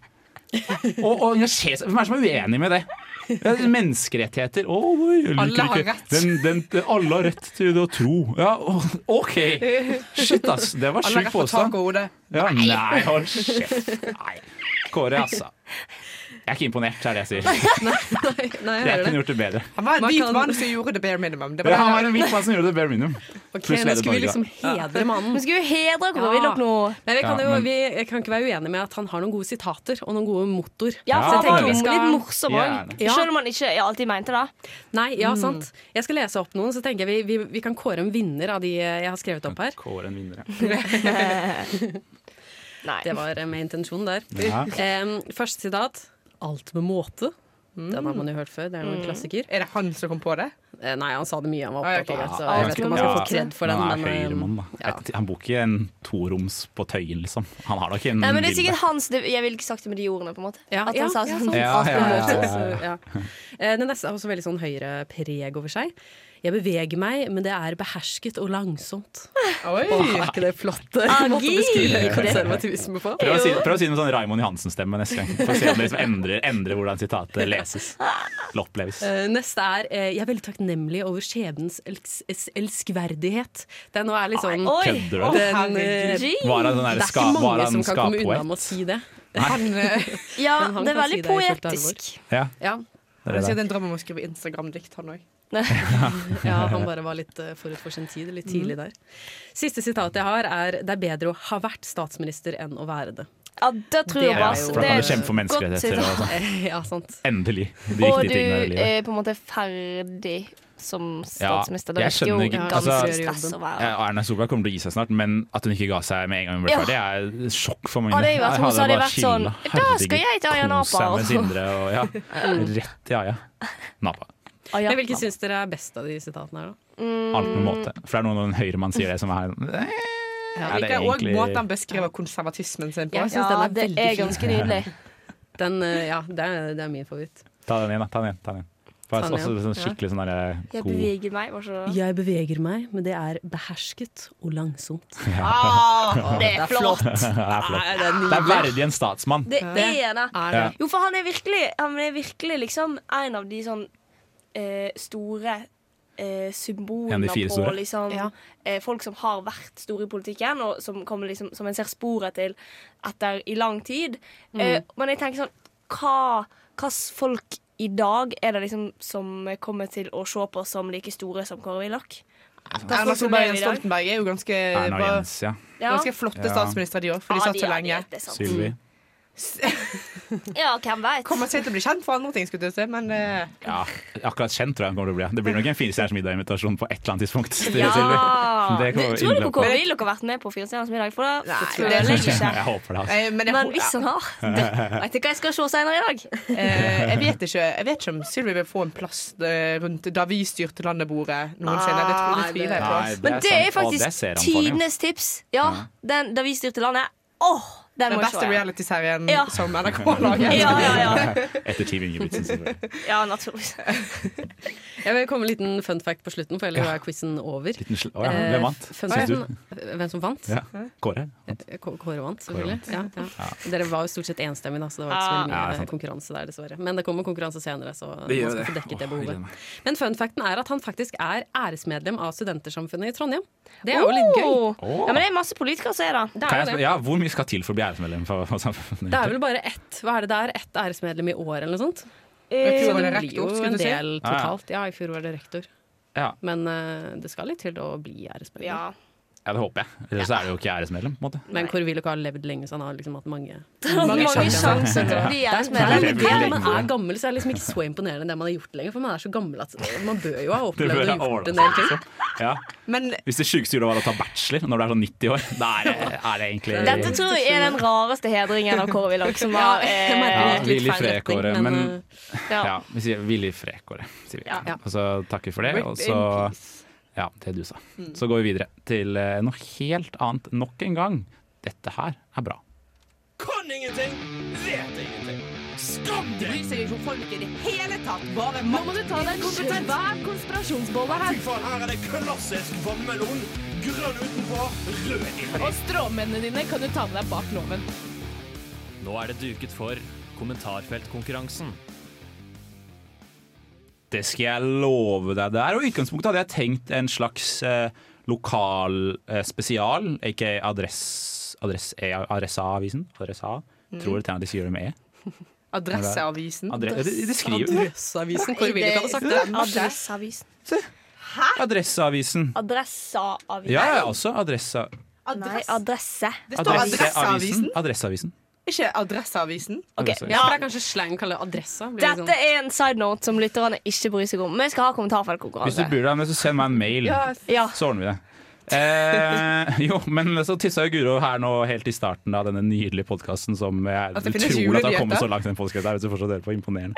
S3: Å å engasjere seg Hvem er det som er uenig med det? Ja, Menneskerettigheter Å, jeg liker
S6: Alle har
S3: ikke.
S6: rett.
S3: Den, den, alle har rett til å tro. Ja, å- OK! Shit, ass. Det var
S6: Alle
S3: sjuk
S6: rett på tak
S3: påstand.
S6: og hode.
S3: Ja, nei, hold kjeft. Nei. Kåre, altså. Jeg er ikke imponert, er det jeg sier.
S7: Nei, nei, jeg
S3: Jeg
S7: hører det.
S3: kunne gjort det bedre.
S6: Han var en
S7: Man
S6: hvit
S7: kan-
S6: mann som gjorde the bare minimum. Det var
S3: Ja,
S6: det
S3: han var
S6: han-
S3: en hvit mann som gjorde det bare minimum.
S7: Ok,
S3: Pluss
S7: nå
S3: leder
S7: skal vi
S3: Norge, da.
S7: liksom hedre mannen.
S5: Vi skulle jo hedre Kåre
S7: Ja.
S5: Willoch nå.
S7: Men vi kan,
S3: Ja,
S7: jo,
S3: men-
S7: vi kan ikke være uenige med at han har noen gode sitater og noen gode motor.
S5: Ja,
S3: Ja,
S5: for han
S3: det
S5: var
S3: er
S5: jo
S3: det.
S5: litt morsom òg.
S3: Gjerne.
S7: Ja.
S5: Selv om han ikke alltid mente det.
S7: Nei,
S6: Mm.
S7: ja, sant. Jeg skal lese opp noen, så tenker jeg vi, vi, vi kan kåre en vinner av de eh, jeg har skrevet opp her.
S3: Kåre en vinner, ja.
S5: Nei.
S3: Mm.
S7: Det var eh, med intensjon der.
S3: Ja.
S7: Em, første sitat. Alt med måte. Den har man jo hørt før, det er jo en klassiker.
S6: Er det han som kom på det?
S7: Eh, Nei, han sa det mye han var
S6: Mm. Ah, ja, ok.
S7: opptatt av det, så jeg vet ikke om han skal få kred for den.
S3: Han er
S7: men, eh,
S3: høyremann, da.
S7: ja.
S3: Et- Han bor ikke i en toroms på Tøyen, liksom. Han har da ikke en
S5: Nei, men det er
S3: villa.
S5: sikkert hans det, Jeg ville ikke sagt det med de ordene, på en måte.
S7: Ja,
S5: At han
S7: ja,
S5: sa
S7: ja,
S5: sånn
S7: sant.
S3: Ja, ja, ja, ja, ja.
S7: Så, ja. Eh, Den neste har også veldig sånn høyre preg over seg. Jeg beveger meg, men det er behersket og langsomt.
S6: Oi!
S7: Åh, er ikke det flott? eh, Måte å beskrive konservatisme på.
S3: Prøv å, si, prøv å si noe sånn Raymond Johansen-stemme neste gang. For å se om det liksom endrer, endrer hvordan sitatet leses. Eller oppleves.
S7: Eh, Neste er eh, 'Jeg er veldig takknemlig over skjebnens elks es- elskverdighet'. Den nå er liksom
S5: Oi!
S3: Kødder du?
S7: den, eh,
S5: Gee.
S3: Var han sånn
S7: Det
S3: der
S7: er
S3: ska,
S7: ikke
S3: var
S7: mange
S3: han
S7: som kan komme unna med å
S3: skappoet?
S7: si det.
S6: Han, eh,
S5: Ja,
S7: Men han
S5: det er
S7: kan
S5: veldig
S7: si det i fullt
S5: poetisk.
S3: Ja,
S7: Ja,
S3: det
S6: han
S3: er
S6: sier
S3: det.
S6: at en drøm om å skrive Instagram-dikt, han òg.
S7: ja, han bare var litt eh, forut for sin tid. Litt tidlig der. Siste sitat jeg har, er 'Det er bedre å ha vært statsminister enn å være det'.
S5: Ja, det tror jeg på.
S7: Det er
S5: ass.
S7: jo-
S3: For han
S5: er
S3: har kjempet for
S5: et godt
S3: menneskerettigheter
S5: sitat.
S3: og sånn.
S7: Eh, Ja, sant.
S3: Endelig. De
S5: Og
S3: riktige
S5: du
S3: tingene i livet.
S5: er på en måte ferdig som
S3: Ja,
S5: statsminister. Det
S3: jeg
S5: virker jo
S3: skjønner ikke-
S5: ganske
S3: altså-
S5: stress å være
S3: Ja, Erna Solberg kommer til å gi seg snart, men at hun ikke ga seg med en gang hun ble
S5: Ja.
S3: ferdig, er sjokk for mange.
S5: Hadde jeg vært
S3: Jeg
S5: hun, så hadde jeg
S3: bare
S5: vært sånn,
S3: chillet.
S5: "Da skal
S3: Herregud,
S5: jeg til Ayia
S3: kos
S5: Napa."
S3: seg med Sindre og ja, rett i Aja Napa.
S5: Ah, ja.
S7: Men hvilke syns dere er best av de sitatene her, da?
S3: Alt med måte. For det er noen når en høyremann sier det som er eh,
S7: Ja,
S3: er
S6: Det
S3: det
S6: er òg
S3: egentlig-
S6: måten han beskriver konservatismen sin på.
S7: Jeg
S5: Ja,
S7: syns den er
S5: det
S7: veldig
S5: er
S7: fin.
S5: ganske nydelig.
S7: Den, eh, ja, det er, det er min favoritt.
S3: Ta den igjen, da. Ta den igjen. Ta den igjen. For
S7: Ta
S3: det
S7: den
S3: er også
S7: igjen,
S3: sånn skikkelig sånn der,
S5: Jeg
S3: god
S5: beveger meg. Var så
S7: Jeg beveger meg, men det er behersket og langsomt.
S5: ah, Det er flott!
S3: Det er flott.
S7: Nei, det er
S3: Det er verdig en statsmann.
S5: Det er det.
S7: Er det?
S3: Ja.
S5: Jo, for han er virkelig, han er virkelig liksom en av de sånn eh, store eh,
S3: En av
S5: symbolene
S3: de fire
S5: på
S3: store?
S5: liksom
S7: Ja.
S5: eh, folk som har vært store i politikken, og som, kommer liksom, som en ser sporet til etter i lang tid.
S6: Mm.
S5: Eh, men jeg tenker sånn Hva slags folk i dag er det liksom som kommer til å se på som like store som Kåre Willoch?
S6: Erna Solberg og Jens Stoltenberg er jo ganske,
S3: Erna og
S6: bare-
S3: Jens, ja.
S5: Ja.
S6: ganske flotte
S3: Ja.
S6: statsministre, de òg, for de
S5: Ja,
S6: satt så
S5: er
S6: lenge.
S5: det, det er sant.
S3: Sylvi.
S5: Ja, hvem vet?
S6: Kommer til å bli kjent for andre ting, skulle jeg til å si, men eh,
S3: Ja, akkurat kjent tror jeg han kommer til å bli. Det blir nok en Firestjerners middag-invitasjon på et eller annet tidspunkt. til
S5: Ja!
S3: Sylvi. Det
S5: Tror
S3: kommer
S5: du på
S3: innløpet.
S5: Kåre Willoch har vært med på Firestjerners middag? For det
S6: Nei,
S5: føler
S6: det
S5: jeg
S6: tror
S5: ikke.
S3: Jeg håper det. Altså.
S6: eh, men, jeg,
S5: Men hvis han har det, Vet du hva jeg skal se senere i dag?
S6: eh, jeg, vet ikke, jeg vet ikke om Sylvi vil få en plass eh, rundt da vi styrte landebordet noensinne. Det tror jeg tviler jeg på.
S3: Nei,
S6: ass.
S5: Men det er
S3: sant. sånn- Å, det
S5: faktisk
S3: ser han for, ja.
S5: tidenes tips. Ja, den, Da vi styrte landet. Åh, den
S6: Den
S5: må jeg
S6: beste
S5: se. igjen.
S6: reality-serien
S5: Ja.
S6: som NRK
S5: Ja,
S6: lager.
S5: ja, ja.
S3: Etter Team Ingebrigtsen, selvfølgelig.
S5: ja naturligvis.
S7: Jeg vil komme med en liten fun fact på slutten, for ellers er quizen over.
S3: Liten sl- Å ja, hvem
S7: Eh,
S3: vant?
S7: fun
S3: Synes
S7: facten- Hvem som vant?
S3: Ja. Kåre?
S7: Eh, K- Kåre vant, selvfølgelig.
S3: vant.
S7: Ja, ja. Dere var jo stort sett enstemmige, da, så det var ikke så
S3: Ah.
S7: veldig
S3: Ja, det er
S7: mye
S3: sant.
S7: konkurranse der, dessverre. Men det kommer konkurranse senere, så man
S3: Det gjør
S7: skal få
S3: det.
S7: dekket
S3: Åh, jeg
S7: det
S3: gleder
S7: behovet.
S3: meg.
S7: Men fun facten er at han faktisk er æresmedlem av Studentersamfunnet i Trondheim. Det er jo litt gøy.
S3: Åh. Ja, men det
S7: er masse politikere som er da. Det
S3: Kan
S7: er,
S3: jeg
S7: jo
S3: spørre,
S7: det.
S3: ja, hvor mye skal til for å bli æresmedlem? For, for samfunnet?
S7: det er vel bare ett hva er det der, ett æresmedlem i år, eller noe sånt?
S6: I fjor
S7: Så
S6: var
S7: det
S6: det
S7: blir
S6: rektor,
S7: jo
S6: skulle
S7: en
S6: du si?
S7: del
S3: Ja, ja.
S7: totalt. Ja, i fjor var det rektor.
S3: Ja.
S7: Men eh, det skal litt til å bli æresmedlem.
S3: Ja, det håper jeg. Ellers er det jo ikke æresmedlem. på en måte.
S7: Men Kåre Willoch har levd lenge, så han har liksom hatt mange
S3: Mange sjanser til å bli
S7: Ja.
S3: æresmedlem. Han har levd
S7: Det er-
S3: lenge.
S7: Man er gammel, så er det liksom ikke så imponerende det man har gjort lenger. For man er så gammel at man bør jo ha
S3: Det bør
S7: opplevd
S3: jeg
S7: og gjort en
S3: ordne
S7: del ting.
S3: seg, Ja. Hvis det sjukeste gjorde var å ta bachelor når du er sånn 90 år, da er det, er det egentlig
S5: Dette tror jeg er den rareste hedringen av Kåre Willoch som
S7: Ja,
S5: har
S7: jeg
S3: ja,
S5: eh,
S3: Hvil i fred, Kåre. Men,
S5: ja.
S3: ja. vi sier hvil i fred, Kåre. Sier vi.
S5: Ja.
S3: Og så takker vi for det.
S5: Rip
S3: Og
S5: in
S3: så ja, det du sa.
S5: Mm.
S3: Så går vi videre til eh, noe helt annet nok en gang. Dette her er bra.
S13: Kan ingenting, vet ingenting. Skam deg! Bryr seg ikke om folk i det hele tatt. Bare
S14: Nå må du ta deg en svær konspirasjonsbolle her.
S13: Fy faen, her er det klassisk vannmelon. Grønn utenpå, rød inni.
S14: Og stråmennene dine kan du ta med deg bak loven.
S4: Nå er det duket for kommentarfeltkonkurransen.
S3: Det skal jeg love deg der. Og i utgangspunktet hadde jeg tenkt en slags eh, lokal eh, spesial, ikke adress, adress, eh, Adressa-avisen. Adressa.
S6: Mm.
S3: Tror dere de sier det med E?
S6: Adresseavisen.
S3: Adre ja, de, de skriver
S7: Adresseavisen, Kåre Willoch hadde sagt det.
S5: Adresseavisen.
S3: Adresseavisen.
S5: Adresseavisen.
S3: Ja, altså, ja, også Adressa...
S5: Nei, adresse.
S3: Adresseavisen.
S6: Ikke Adresseavisen.
S5: Ok,
S3: Adresseavisen.
S5: ja.
S7: Det er kanskje slang å kalle det adressa. blir liksom det
S5: Dette er en side note som lytterne ikke bryr seg om. Men jeg skal ha
S3: Hvis du
S5: kommentarfeltkonkurranse.
S3: bryr deg om det, så send meg en mail,
S5: Yes. Ja.
S3: så ordner vi det. Eh, jo, men så tissa jo Guro her nå helt i starten av denne nydelige podkasten som jeg
S6: At det finnes
S3: tror at har
S6: julenyheter.
S3: kommet så langt i den podcasten her, hvis du fortsatt hører på. Imponerende.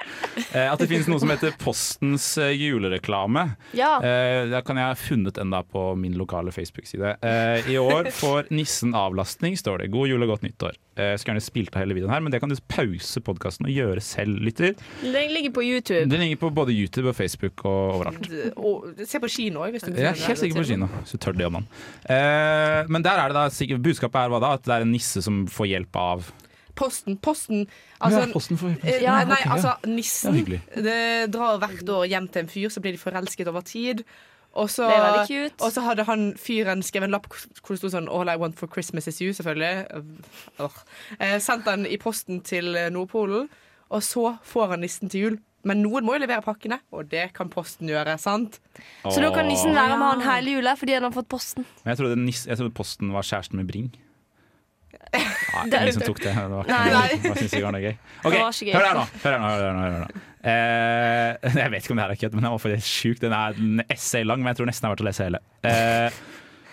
S3: Eh, at det finnes noe som heter Postens eh, julereklame.
S5: Ja.
S3: Eh, der kan jeg ha funnet enda på min lokale Facebook-side. Eh, I år får nissen avlastning, står det. God jul og godt nyttår. Eh, skulle gjerne spilt av hele videoen her, men det kan du pause podkasten og gjøre selv, lytter.
S5: Den ligger på YouTube.
S3: Den ligger på både YouTube og Facebook og overalt.
S6: Og se på kino òg, hvis du
S3: Jeg er helt sikker på kino, så tør det gjør man. Eh, men der er det da sikkert, budskapet er hva da? At det er en nisse som får hjelp av
S6: Posten. Posten. Altså,
S3: Ja, posten får-
S6: eh,
S3: Ja,
S6: nei,
S3: ok, ja.
S6: altså,
S3: Det
S6: nissen
S3: er hyggelig.
S6: det drar hvert år hjem til en fyr, så blir de forelsket over tid. Og så,
S5: Det er veldig cute.
S6: og så hadde han fyren skrevet en lapp hvor det sto sånn 'All I want for Christmas is you', selvfølgelig. Åh. Eh, sendt den i posten til eh, Nordpolen, og så får han nissen til jul. Men noen må jo levere pakkene, og det kan posten gjøre, sant?
S5: Så nå kan nissen være med han
S6: Ja.
S5: hele jula fordi han har fått posten.
S3: Men jeg trodde, nisse, jeg trodde posten var kjæresten med Bring. Nei, det
S5: Det
S3: var
S5: er
S3: ingen som
S5: det.
S3: tok det. Det var ikke
S5: Nei.
S3: det var- synes ikke det var noe gøy. Ok,
S5: Det var ikke gøy.
S3: hør her nå. Hør her nå, hør her nå, hør her nå. Eh, jeg vet ikke om det her er kødd, men den var faktisk sjuk. Den er en essay lang, men jeg tror nesten det er verdt å lese hele. Eh,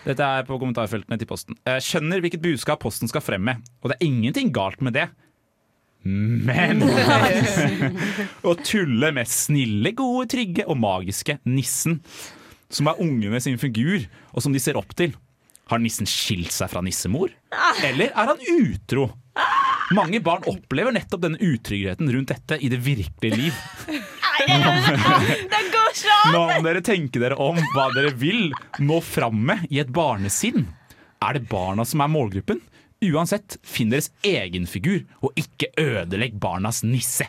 S3: dette er på kommentarfeltene til Posten. Eh, skjønner hvilket budskap Posten skal frem med, og det er ingenting galt med det. Men å tulle med snille, gode, trygge og magiske nissen, som er ungene sin figur, og som de ser opp til. Har nissen skilt seg fra nissemor? Eller er han utro? Mange barn opplever nettopp denne utryggheten rundt dette i det virkelige liv.
S5: Den går ikke an!
S3: Nå må dere tenke dere om hva dere vil nå fram med i et barnesinn. Er det barna som er målgruppen? Uansett, finn deres egen figur, og ikke ødelegg barnas nisse.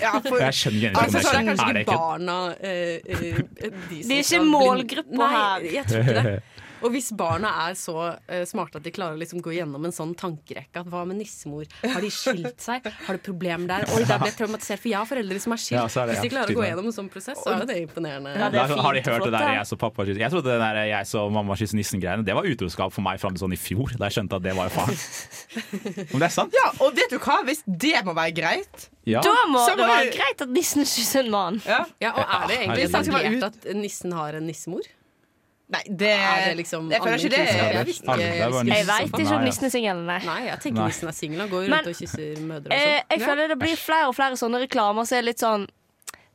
S6: Ja, for-
S3: Jeg skjønner ikke
S7: Altså,
S3: den
S7: så er
S3: konvensjonen.
S7: det kanskje
S3: Er det
S7: ikke
S3: ikke
S7: barna eh, eh, de som
S5: Det er ikke
S7: skal bli-
S5: målgruppa her.
S7: Nei, jeg tror ikke det. Og hvis barna er så eh, smarte at de klarer å liksom gå gjennom en sånn tankerekke at hva med nissemor, har de skilt seg, har det problem der? Oi, da ble jeg traumatisert, for jeg har foreldre som er skilt.
S3: Ja, så er det-
S7: hvis
S3: ja,
S7: de klarer å gå
S3: tydelig.
S7: gjennom en sånn prosess, så er jo det imponerende.
S3: Da har de hørt det der jeg så pappa kysser Jeg trodde det der jeg så mamma kysser nissen-greiene Det var utroskap for meg fram til sånn i fjor, da jeg skjønte at det var jo faren. Men det er sant.
S6: Ja, og vet du hva? Hvis det må være greit
S3: Ja.
S5: Da må
S6: Så
S5: det
S6: må
S5: være
S6: jeg-
S5: greit at nissen kysser en mann.
S6: Ja.
S7: Ja, og er det egentlig
S6: Herregud.
S7: etablert at nissen har en nissemor?
S6: Nei, det
S7: Er det liksom
S6: Jeg føler ikke det- Ja,
S7: allmennkjennskap? Jeg visste ikke-
S3: det er bare
S7: visste
S5: Jeg
S7: ikke så
S5: veit
S7: faen.
S5: ikke om nissen er singel, nei.
S7: Nei, jeg tenker
S3: Nei.
S7: nissen er singel. Han går
S5: Men-
S7: rundt og kysser mødre og
S5: Eh,
S7: sånn.
S5: jeg føler det blir flere og flere sånne reklamer som er litt sånn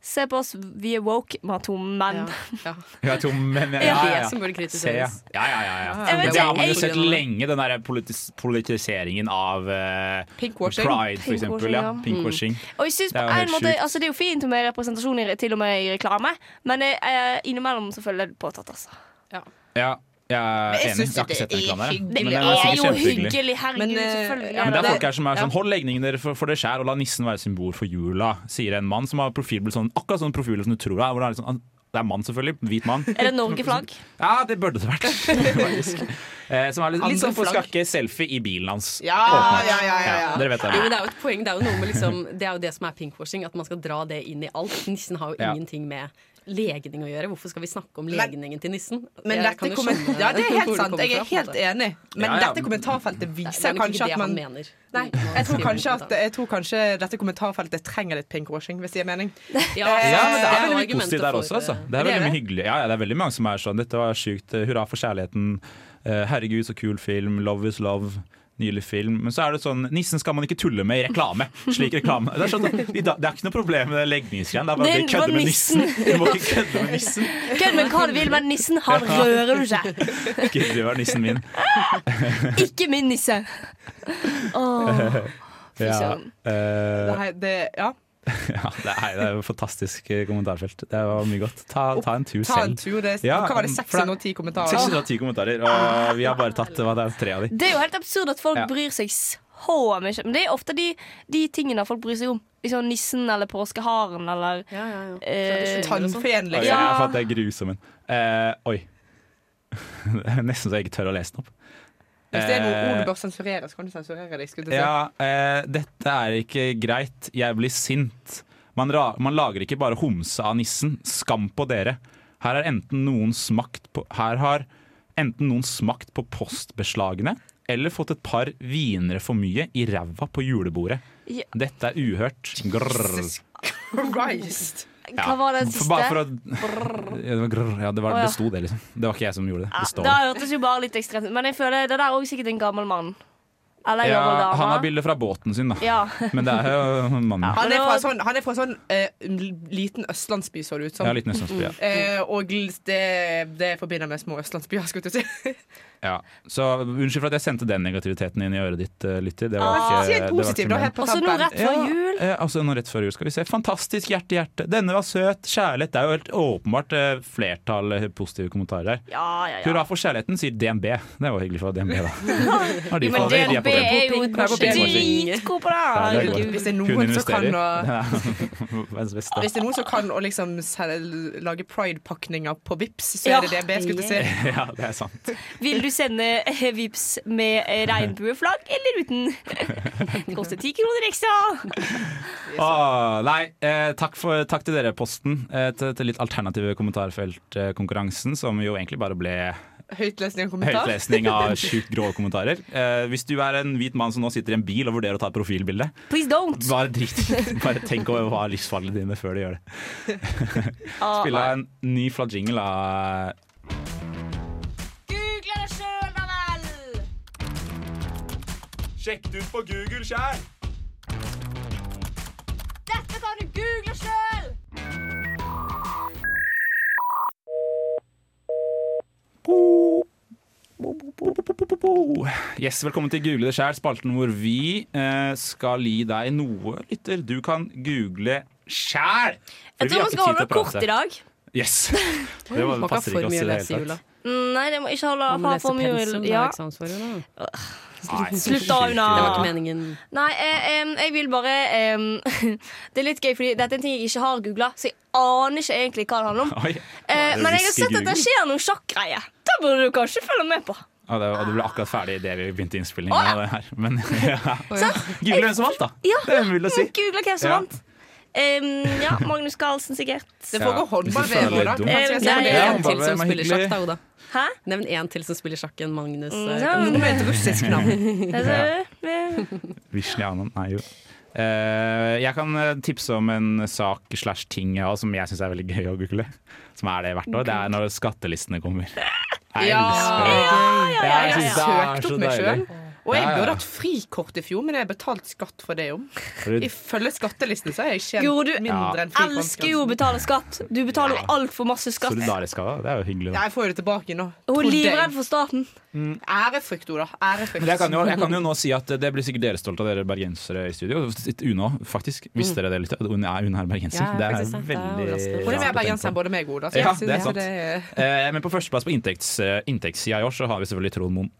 S5: Se på oss, vi er woke, vi har to
S7: sånn.
S5: menn.
S3: Ja, to menn, ja,
S5: Det er
S3: ja,
S5: det
S3: ja.
S5: som burde
S3: Se, ja.
S5: kritiseres.
S3: Ja, ja, ja, ja.
S5: Jeg vet
S3: Men Det har
S5: ikke,
S3: man jo
S5: jeg-
S3: sett lenge, den der politis politiseringen av eh,
S5: Pinkwashing.
S3: Pride, for eksempel.
S5: Pinkwashing, ja.
S3: Ja.
S5: Mm.
S3: Pinkwashing.
S5: Og jeg synes
S3: Det
S5: på
S3: er jo
S5: en
S3: helt
S5: måte,
S3: sjukt.
S5: altså, det er jo fint med representasjon i, re- til og med i reklame, men jeg, jeg, innimellom så føler jeg det påtatt, altså.
S3: Ja, jeg er
S5: Men jeg
S3: enig.
S5: synes
S3: Jeg har
S5: det
S3: ikke sett
S5: er
S3: den reklamen der.
S5: hyggelig.
S3: Men den
S5: Det er
S3: sikkert
S5: jo
S3: kjempehyggelig.
S5: hyggelig, herregud,
S6: Men, eh,
S5: selvfølgelig.
S3: Ja, men det er folk her som er
S5: Ja.
S3: sånn Hold legningen dere for, for det skjær, og la nissen være symbol for jula, sier en mann som har profilbilde sånn, akkurat sånn profil som du tror er. Hvor det, er litt sånn, det er mann, selvfølgelig. Hvit mann.
S5: Er det Norge-flagg?
S3: Ja, det burde det vært. faktisk. Eh, som er litt, litt sånn for
S7: Andre flagg.
S3: skakke selfie i bilen hans.
S7: Ja,
S3: Åpenbart.
S7: ja, ja, ja, ja.
S3: Dere vet
S7: Jo, men
S3: det.
S7: det er jo et poeng. Det er jo noe med liksom Det er jo det som er pinkwashing, at man skal dra det inn i alt. Nissen har jo
S3: Ja.
S7: ingenting med legning å gjøre. Hvorfor skal vi snakke om legningen til nissen?
S6: Men
S7: Jeg
S6: dette
S7: kan jo
S6: kommer-
S7: skjønne
S6: ja, det er
S7: hvor
S6: helt sant.
S7: kommer
S6: Jeg er
S7: fra, på
S6: helt
S7: en måte.
S6: enig. Men
S7: Ja, ja.
S6: dette kommentarfeltet
S7: Det er
S6: viser
S7: nok ikke
S6: kanskje
S7: det
S6: at man
S7: han mener.
S6: Nei, jeg tror
S7: skriver
S6: kanskje,
S7: i
S6: at, jeg tror kanskje dette kommentarfeltet trenger litt pinkwashing, hvis det gir mening.
S7: Ja,
S6: Eh,
S3: Ja, men det er
S6: eh,
S3: veldig mye positivt der også. Altså.
S7: eh,
S3: Det er
S6: Det er
S3: veldig mye
S6: det.
S3: hyggelig. Ja, ja, det er veldig mange som er sånn Dette var sjukt. eh, Hurra for kjærligheten. eh, Herregud, så kul film. Love is love. Nylig film. Men så er det sånn nissen skal man ikke tulle med i reklame. Slik reklame. Det er, sånn, i dag- det er ikke noe problem med det legningsgreien. Det er bare
S5: Det
S3: at vi
S5: var
S3: kødder med
S5: nissen.
S3: nissen. Vi må ikke kødde med nissen.
S5: Kødd med hva du vil, men nissen, han
S3: Ja.
S5: rører du ikke.
S3: Ikke rør nissen min.
S5: Ikke min nisse. Åh. fy
S3: Ja,
S5: søren.
S3: eh,
S6: Nei, det, ja.
S3: ja, det er, det er et fantastisk eh, kommentarfelt. Det var mye godt. Ta, ta en tur
S6: Ta en
S3: selv.
S6: tur. Det, er-
S3: Ja,
S6: hva var det,
S3: for det er
S6: 610 kommentarer? Ah,
S3: 610 kommentarer, og vi har bare tatt hva det er, tre av de.
S5: Det er jo helt absurd at folk
S3: Ja.
S5: bryr seg så mye. Men det er ofte de, de tingene folk bryr seg om. Liksom nissen eller påskeharen eller eh,
S7: sånn.
S6: Tannfeen,
S3: Oi, jeg har fått det grusom en. Eh, oi. Det er Nesten så jeg ikke tør å lese den opp.
S6: Hvis det er noe ord
S3: Eh,
S6: du bør sensurere, så kan du sensurere det. skulle jeg si.
S3: Ja, eh, dette er ikke greit. Jeg blir sint. Man, ra man lager ikke bare homse av nissen. Skam på dere. Her er enten noens makt på Her har enten noens makt på postbeslagene eller fått et par wienere for mye i ræva på julebordet.
S5: Ja.
S3: Dette er uhørt. Grrr.
S6: Christ.
S5: Hva var det
S3: For-
S5: siste?
S3: Bare for å Ja, det var grrr. Ja, det, var,
S5: Å, ja.
S3: det sto det, liksom. Det var ikke jeg som gjorde det. Det står
S5: Det
S3: det.
S5: hørtes jo bare litt ekstremt ut. Men jeg føler det der er også sikkert en gammel mann. Eller en
S3: Ja,
S5: gammel
S3: han har
S5: dame.
S3: bilde fra båten sin, da.
S5: Ja.
S3: Men det er jo mannen.
S6: Han er fra sånn, han er fra sånn eh, liten østlandsby, så det ut som.
S3: Ja, liten østlandsby, ja.
S6: Eh, og det, det forbinder med små østlandsbyer, skulle jeg til å si.
S3: Ja. Så unnskyld for at jeg sendte den negativiteten inn i øret ditt, eh, lytter. Det var
S6: Ah,
S3: ikke,
S6: si en
S3: det var
S6: positiv,
S3: ikke
S6: da,
S3: meningen.
S6: helt på Også noe tampen. rett før jul.
S3: Ja, eh, altså noe rett før jul, skal vi se. Fantastisk hjerte, hjerte. Denne var søt. Kjærlighet. Det er jo helt åpenbart eh, flertall eh, positive kommentarer her.
S5: Ja, ja, ja.
S3: Hurra for kjærligheten, sier DNB. Det var hyggelig fra DNB, da. Har de
S5: Jo, men
S3: fått det? De
S5: DNB
S3: er på det.
S5: er jo
S3: Det er på pinkwashing.
S5: dritgod på det!
S3: Ja, det er
S5: herregud.
S3: godt.
S6: Hvis det er noen
S3: Kun
S6: som kan
S3: investerer. Ja, Verdens beste.
S6: Hvis det er noen som kan å liksom selge- lage pride-pakninger på Vips, så
S5: Ja,
S6: er det det jeg skulle til å si.
S3: Ja, det er sant.
S5: Vil du sende eh, vips med eh, regnbueflagg eller uten? Det koster ti kroner ekstra!
S3: Åh, Ah, nei, eh, takk, for, takk til dere, Posten, eh, til, til litt alternative kommentarfeltkonkurransen, som jo egentlig bare ble
S6: Høytlesning og kommentar.
S3: høytlesning av sjukt grå kommentarer. Eh, hvis du er en hvit mann som nå sitter i en bil og vurderer å ta et profilbilde,
S5: Please don't!
S3: bare drit i det. Bare tenk over hva er livsfarlige dine før du gjør det.
S5: Ah,
S3: Spille en ny flat jingle av
S5: Google det sjøl, da vel!
S3: Sjekk det ut på Google sjæl!
S13: Dette kan du google sjøl!
S3: Yes, Velkommen til Google det sjæl, spalten hvor vi eh, skal gi deg noe, lytter, du kan google sjæl!
S5: Jeg tror vi skal holde det kort i dag.
S3: Yes. Det var,
S7: Man kan
S3: passer
S7: for
S3: ikke oss
S7: mye
S3: i det
S7: lese i
S3: hele
S7: jula.
S3: tatt.
S5: Mm, Nei, det må ikke holde
S7: Man må
S5: ha
S7: lese
S5: for mye
S7: pensum, liksom. det er
S5: ja.
S7: eksamensåret, da.
S3: Nei,
S5: Slutt da, Una.
S7: Det var ikke meningen.
S5: Nei, eh, em, jeg vil bare em, Det er litt gøy, fordi dette er en ting jeg ikke har googla, så jeg aner ikke egentlig hva det handler om.
S3: Oi.
S5: Eh, men jeg har sett at det
S3: Google.
S5: skjer noen sjakkgreier. Da burde du kanskje følge med på.
S3: Ja, det, og du ble akkurat ferdig idet vi begynte innspillingen.
S5: Å, ja.
S3: av det her. Men ja. Google hvem som vant, da!
S5: Ja,
S3: Det er mulig å si.
S5: Google hvem som
S3: Ja.
S5: vant. Em, ja, Magnus Carlsen, sikkert.
S7: Det
S3: Ja,
S7: foregår
S3: hvis du
S7: håndball-VM
S3: føler
S7: også, da.
S3: dum.
S7: Eh,
S5: Kanskje jeg
S7: Nevn
S5: skal
S7: én
S5: det.
S7: til som
S3: Håndball-VM er
S7: spiller sjakk,
S3: hyggelig.
S7: da, Oda.
S5: Hæ?
S7: Nevn én til som spiller sjakk enn Magnus.
S5: Mm,
S7: eh,
S5: ja.
S7: kan-
S5: Noe med et
S3: russisk navn.
S5: Det er så-
S3: Vishnianen, nei jo. Eh, jeg kan eh, tipse om en sak slash ting jeg har, som jeg syns er veldig gøy å google. Som er det hvert år. Det er når skattelistene kommer. Jeg
S6: Ja.
S3: elsker det.
S6: Ja, ja, ja, ja, ja.
S3: Jeg synes det er
S6: Søkt
S3: så
S6: opp meg
S3: deilig.
S6: selv. Og jeg
S3: Ja, ja.
S6: burde hatt frikort i fjor, men jeg har betalt skatt for det jo.
S3: Fordi-
S6: Ifølge skattelisten så er jeg tjent
S5: Goro, du
S6: mindre enn frikort.
S5: elsker jo å betale skatt. Du betaler jo altfor masse skatt.
S3: Solidarisk av deg. Det er jo hyggelig.
S6: Ja,
S3: Da.
S6: jeg får jo det tilbake nå.
S5: Hun er
S6: Trodde jeg.
S5: livredd for staten.
S3: Mm.
S6: Ærefrykt, Oda. Ærefrykt.
S3: Men jeg kan, jo, jeg kan jo nå si at eh, det blir sikkert dere stolt av, dere bergensere i studio. Una, faktisk.
S6: Mm.
S3: Visste dere det litt? At Une er, Une er bergenser.
S6: Ja,
S3: det er
S6: faktisk sant. Det er
S3: veldig
S6: overraskende. Hun er
S3: rart å
S6: mer
S3: tenke
S6: bergenser
S3: på.
S6: enn både meg og Oda, så
S3: Ja,
S6: jeg
S3: det
S6: synes
S3: er
S6: jo
S3: sant.
S6: det
S3: Eh, Men på førsteplass på inntekts, eh, inntektssida i år så har vi selvfølgelig Trond Moen.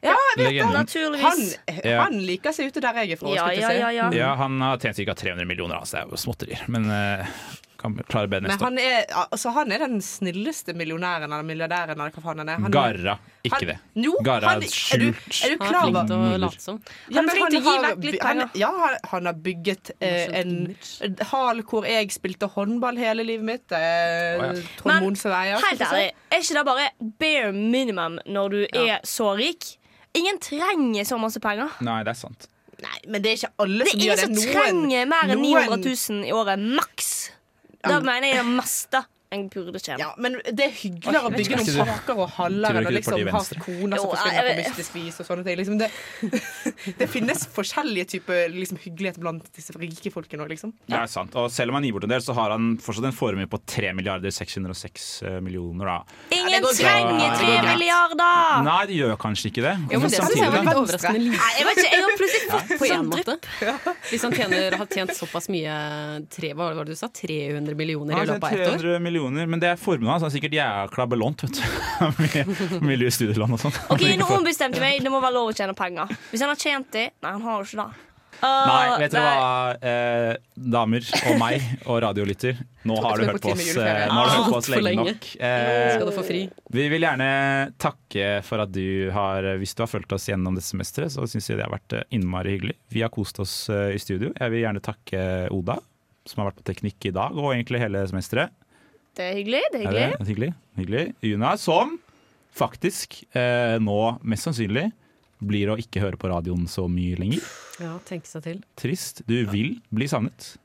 S6: Ja, jeg vet
S3: Legenden.
S6: det.
S3: Naturligvis.
S6: Han,
S3: Ja.
S6: han liker seg ute der jeg er fra.
S5: Ja,
S6: skulle jeg
S5: ja,
S6: si.
S5: ja, ja.
S3: Ja, han har tjent ca. 300 millioner, altså det er jo småtterier. Men eh, kan klare bedre
S6: Men
S3: neste år.
S6: han er, altså, han er den snilleste millionæren eller milliardæren eller hva faen han er. Han,
S3: Garra, ikke
S6: han-
S3: det.
S6: Jo,
S3: Garra
S6: han-
S3: er
S6: er du-
S3: skjult.
S6: er du klar over-
S3: flink murer.
S6: Ja,
S5: Han er
S6: men
S5: flink til å gi
S6: har
S5: vekk litt
S6: by- han-
S5: penger.
S6: Ja, han, han har bygget eh, en en hal hvor jeg spilte håndball hele livet mitt.
S5: Å,
S6: Eh,
S5: ja. Men,
S6: Trond Moen som veier.
S5: Helt ærlig, er ikke det bare bare minimum når du er så rik? Ingen trenger så masse penger.
S3: Nei, det er sant.
S6: Men det er ikke alle
S5: Det
S6: som
S5: er ingen
S6: gjør det.
S5: som
S6: Noen-
S5: trenger mer enn
S6: noen-
S5: 900 000 i året, maks. Da mener jeg det meste en burde tjene.
S6: Ja, men det er hyggeligere å bygge noen parker og haller enn å liksom ha koner som forsvinner på mystisk vis og sånne ting. Liksom det, det finnes forskjellige typer liksom, hyggelighet blant disse rike folkene òg, liksom.
S3: Det er sant. Og selv om han gir bort en del, så har han fortsatt en formue på 3 milliarder 606 millioner, da.
S5: Ingen
S3: går
S5: trenger tre
S3: greit. Ja, det går greit.
S5: milliarder!
S3: Nei, det gjør kanskje ikke det.
S7: Jo, men det synes jeg var litt overraskende lite.
S5: Nei, jeg vet ikke, jeg har plutselig fått
S7: På
S5: sånn
S7: en
S5: drypp.
S7: måte. Hvis han tjener, har tjent såpass mye tre, Hva var det du sa? 300 millioner i
S3: Han har
S7: løpet av ett år?
S3: 300 millioner, men det er formuen hans. Han er sikkert jækla belånt, vet du. Med- Med mye studielån og sånn.
S5: Ok, Nå ombestemte jeg meg. Det må være lov å tjene penger. Hvis han har tjent det Nei, han har jo ikke det. Uh,
S3: Nei, vet dere
S5: nei.
S3: hva, eh, damer og meg og radiolytter. Nå har du
S5: vi er
S3: hørt
S5: på
S3: på
S5: time
S3: oss,
S5: juleferie.
S3: eh, nå har du hørt på oss
S7: Altfor
S3: lenge
S7: lenge.
S3: nok. Eh,
S7: Skal du få fri.
S3: Vi vil gjerne takke for at du har Hvis du har fulgt oss gjennom det semesteret, så syns jeg det har vært eh, innmari hyggelig. Vi har kost oss eh, i studio. Jeg vil gjerne takke Oda, som har vært på teknikk i dag, og egentlig hele semesteret.
S5: Det er hyggelig. Det er
S3: Er
S5: hyggelig.
S3: det hyggelig? Hyggelig. Una, som faktisk eh, nå mest sannsynlig blir å ikke høre på radioen så mye lenger.
S7: Ja, tenke seg til.
S3: Trist. Du vil bli savnet.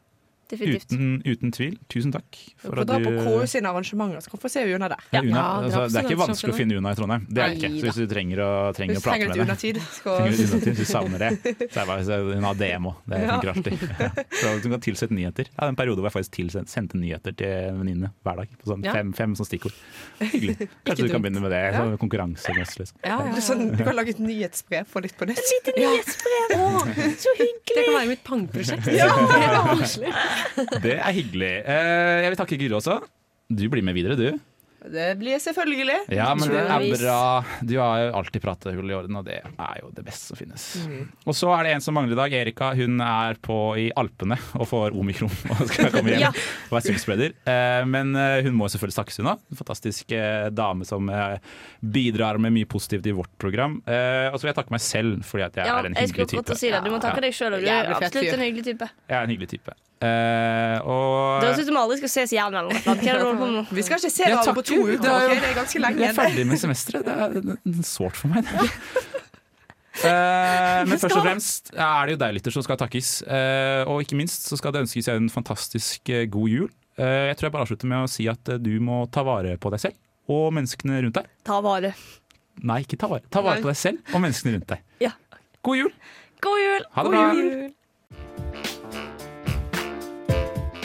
S6: Definitivt.
S3: Uten, uten tvil. Tusen takk for
S6: For
S3: at
S6: da på KU
S3: du
S6: sine arrangementer, så hvorfor ser vi unna der?
S3: Ja, Una, altså, det er ikke vanskelig å finne Una i Trondheim. Det er det ikke.
S6: Nei
S3: Så hvis du trenger å, trenger å
S6: Hvis du
S3: prate
S6: trenger
S3: med
S6: litt
S3: henne
S6: unatid, skal-
S3: trenger litt unatid, Hvis du savner det, så er det bare så- hun har DM òg. Det
S6: Ja.
S3: funker alltid. Ja. Så du kan tilsette nyheter. Jeg hadde en periode hvor jeg faktisk tilsen- sendte nyheter til en venninne hver dag. På sånn
S6: Ja.
S3: fem, fem sånn stikkord. Hyggelig.
S6: Ikke
S3: Kanskje du kan
S6: dumt.
S3: begynne med det.
S6: Ja.
S3: Sånn konkurransemessig. Liksom.
S6: Du, sånn, du kan lage et nyhetsbrev for litt på nytt. Et
S7: lite nyhetsbrev! så hyggelig! Det kan være mitt pangprosjekt.
S3: Ja.
S7: koselig.
S3: Det er hyggelig. Eh, Jeg vil takke Guro også. Du blir med videre, du.
S6: Det blir selvfølgelig.
S3: Ja, men det er bra. Du har jo alltid pratehull i orden, og det er jo det beste som finnes.
S5: Mm.
S6: Mhm.
S3: Og så er det en som mangler i dag. Erika hun er på i Alpene og får omikron og skal komme hjem
S6: Ja.
S3: og være superspreader. Eh, Men eh, hun må selvfølgelig snakkes unna. En fantastisk eh, dame som eh, bidrar med mye positivt i vårt program. Eh, Og så vil jeg takke meg selv, fordi at jeg
S5: Ja,
S3: er en
S5: jeg skulle
S3: hyggelig
S5: akkurat
S3: type.
S5: å si det. Du må takke
S3: Ja.
S5: deg sjøl òg. Du er
S6: Jævlig fet
S5: absolutt
S6: fyr.
S5: en hyggelig type.
S3: Jeg er en hyggelig type. Eh, Og
S5: Det høres ut som vi aldri skal ses igjen. Eller noe. Hva er det du holder på med nå?
S6: Vi skal ikke se
S3: Ja,
S6: hverandre
S3: takk,
S6: på to
S3: Gud.
S6: uker.
S3: Det er jo-
S6: ok? Det er ganske lenge
S3: Jeg er
S6: igjen.
S3: ferdig med semesteret. Det er sårt for meg. Det. Eh, men først og fremst er det jo deg, lytter, som skal takkes. Eh, og ikke minst så skal det ønskes en fantastisk eh, god jul. Eh, jeg tror jeg bare avslutter med å si at eh, du må ta vare på deg selv og menneskene rundt deg.
S5: Ta vare.
S3: Nei, ikke ta vare. Ta vare på deg selv og menneskene rundt deg.
S5: Ja.
S3: God jul!
S5: God jul!
S3: Ha det bra.
S5: God jul.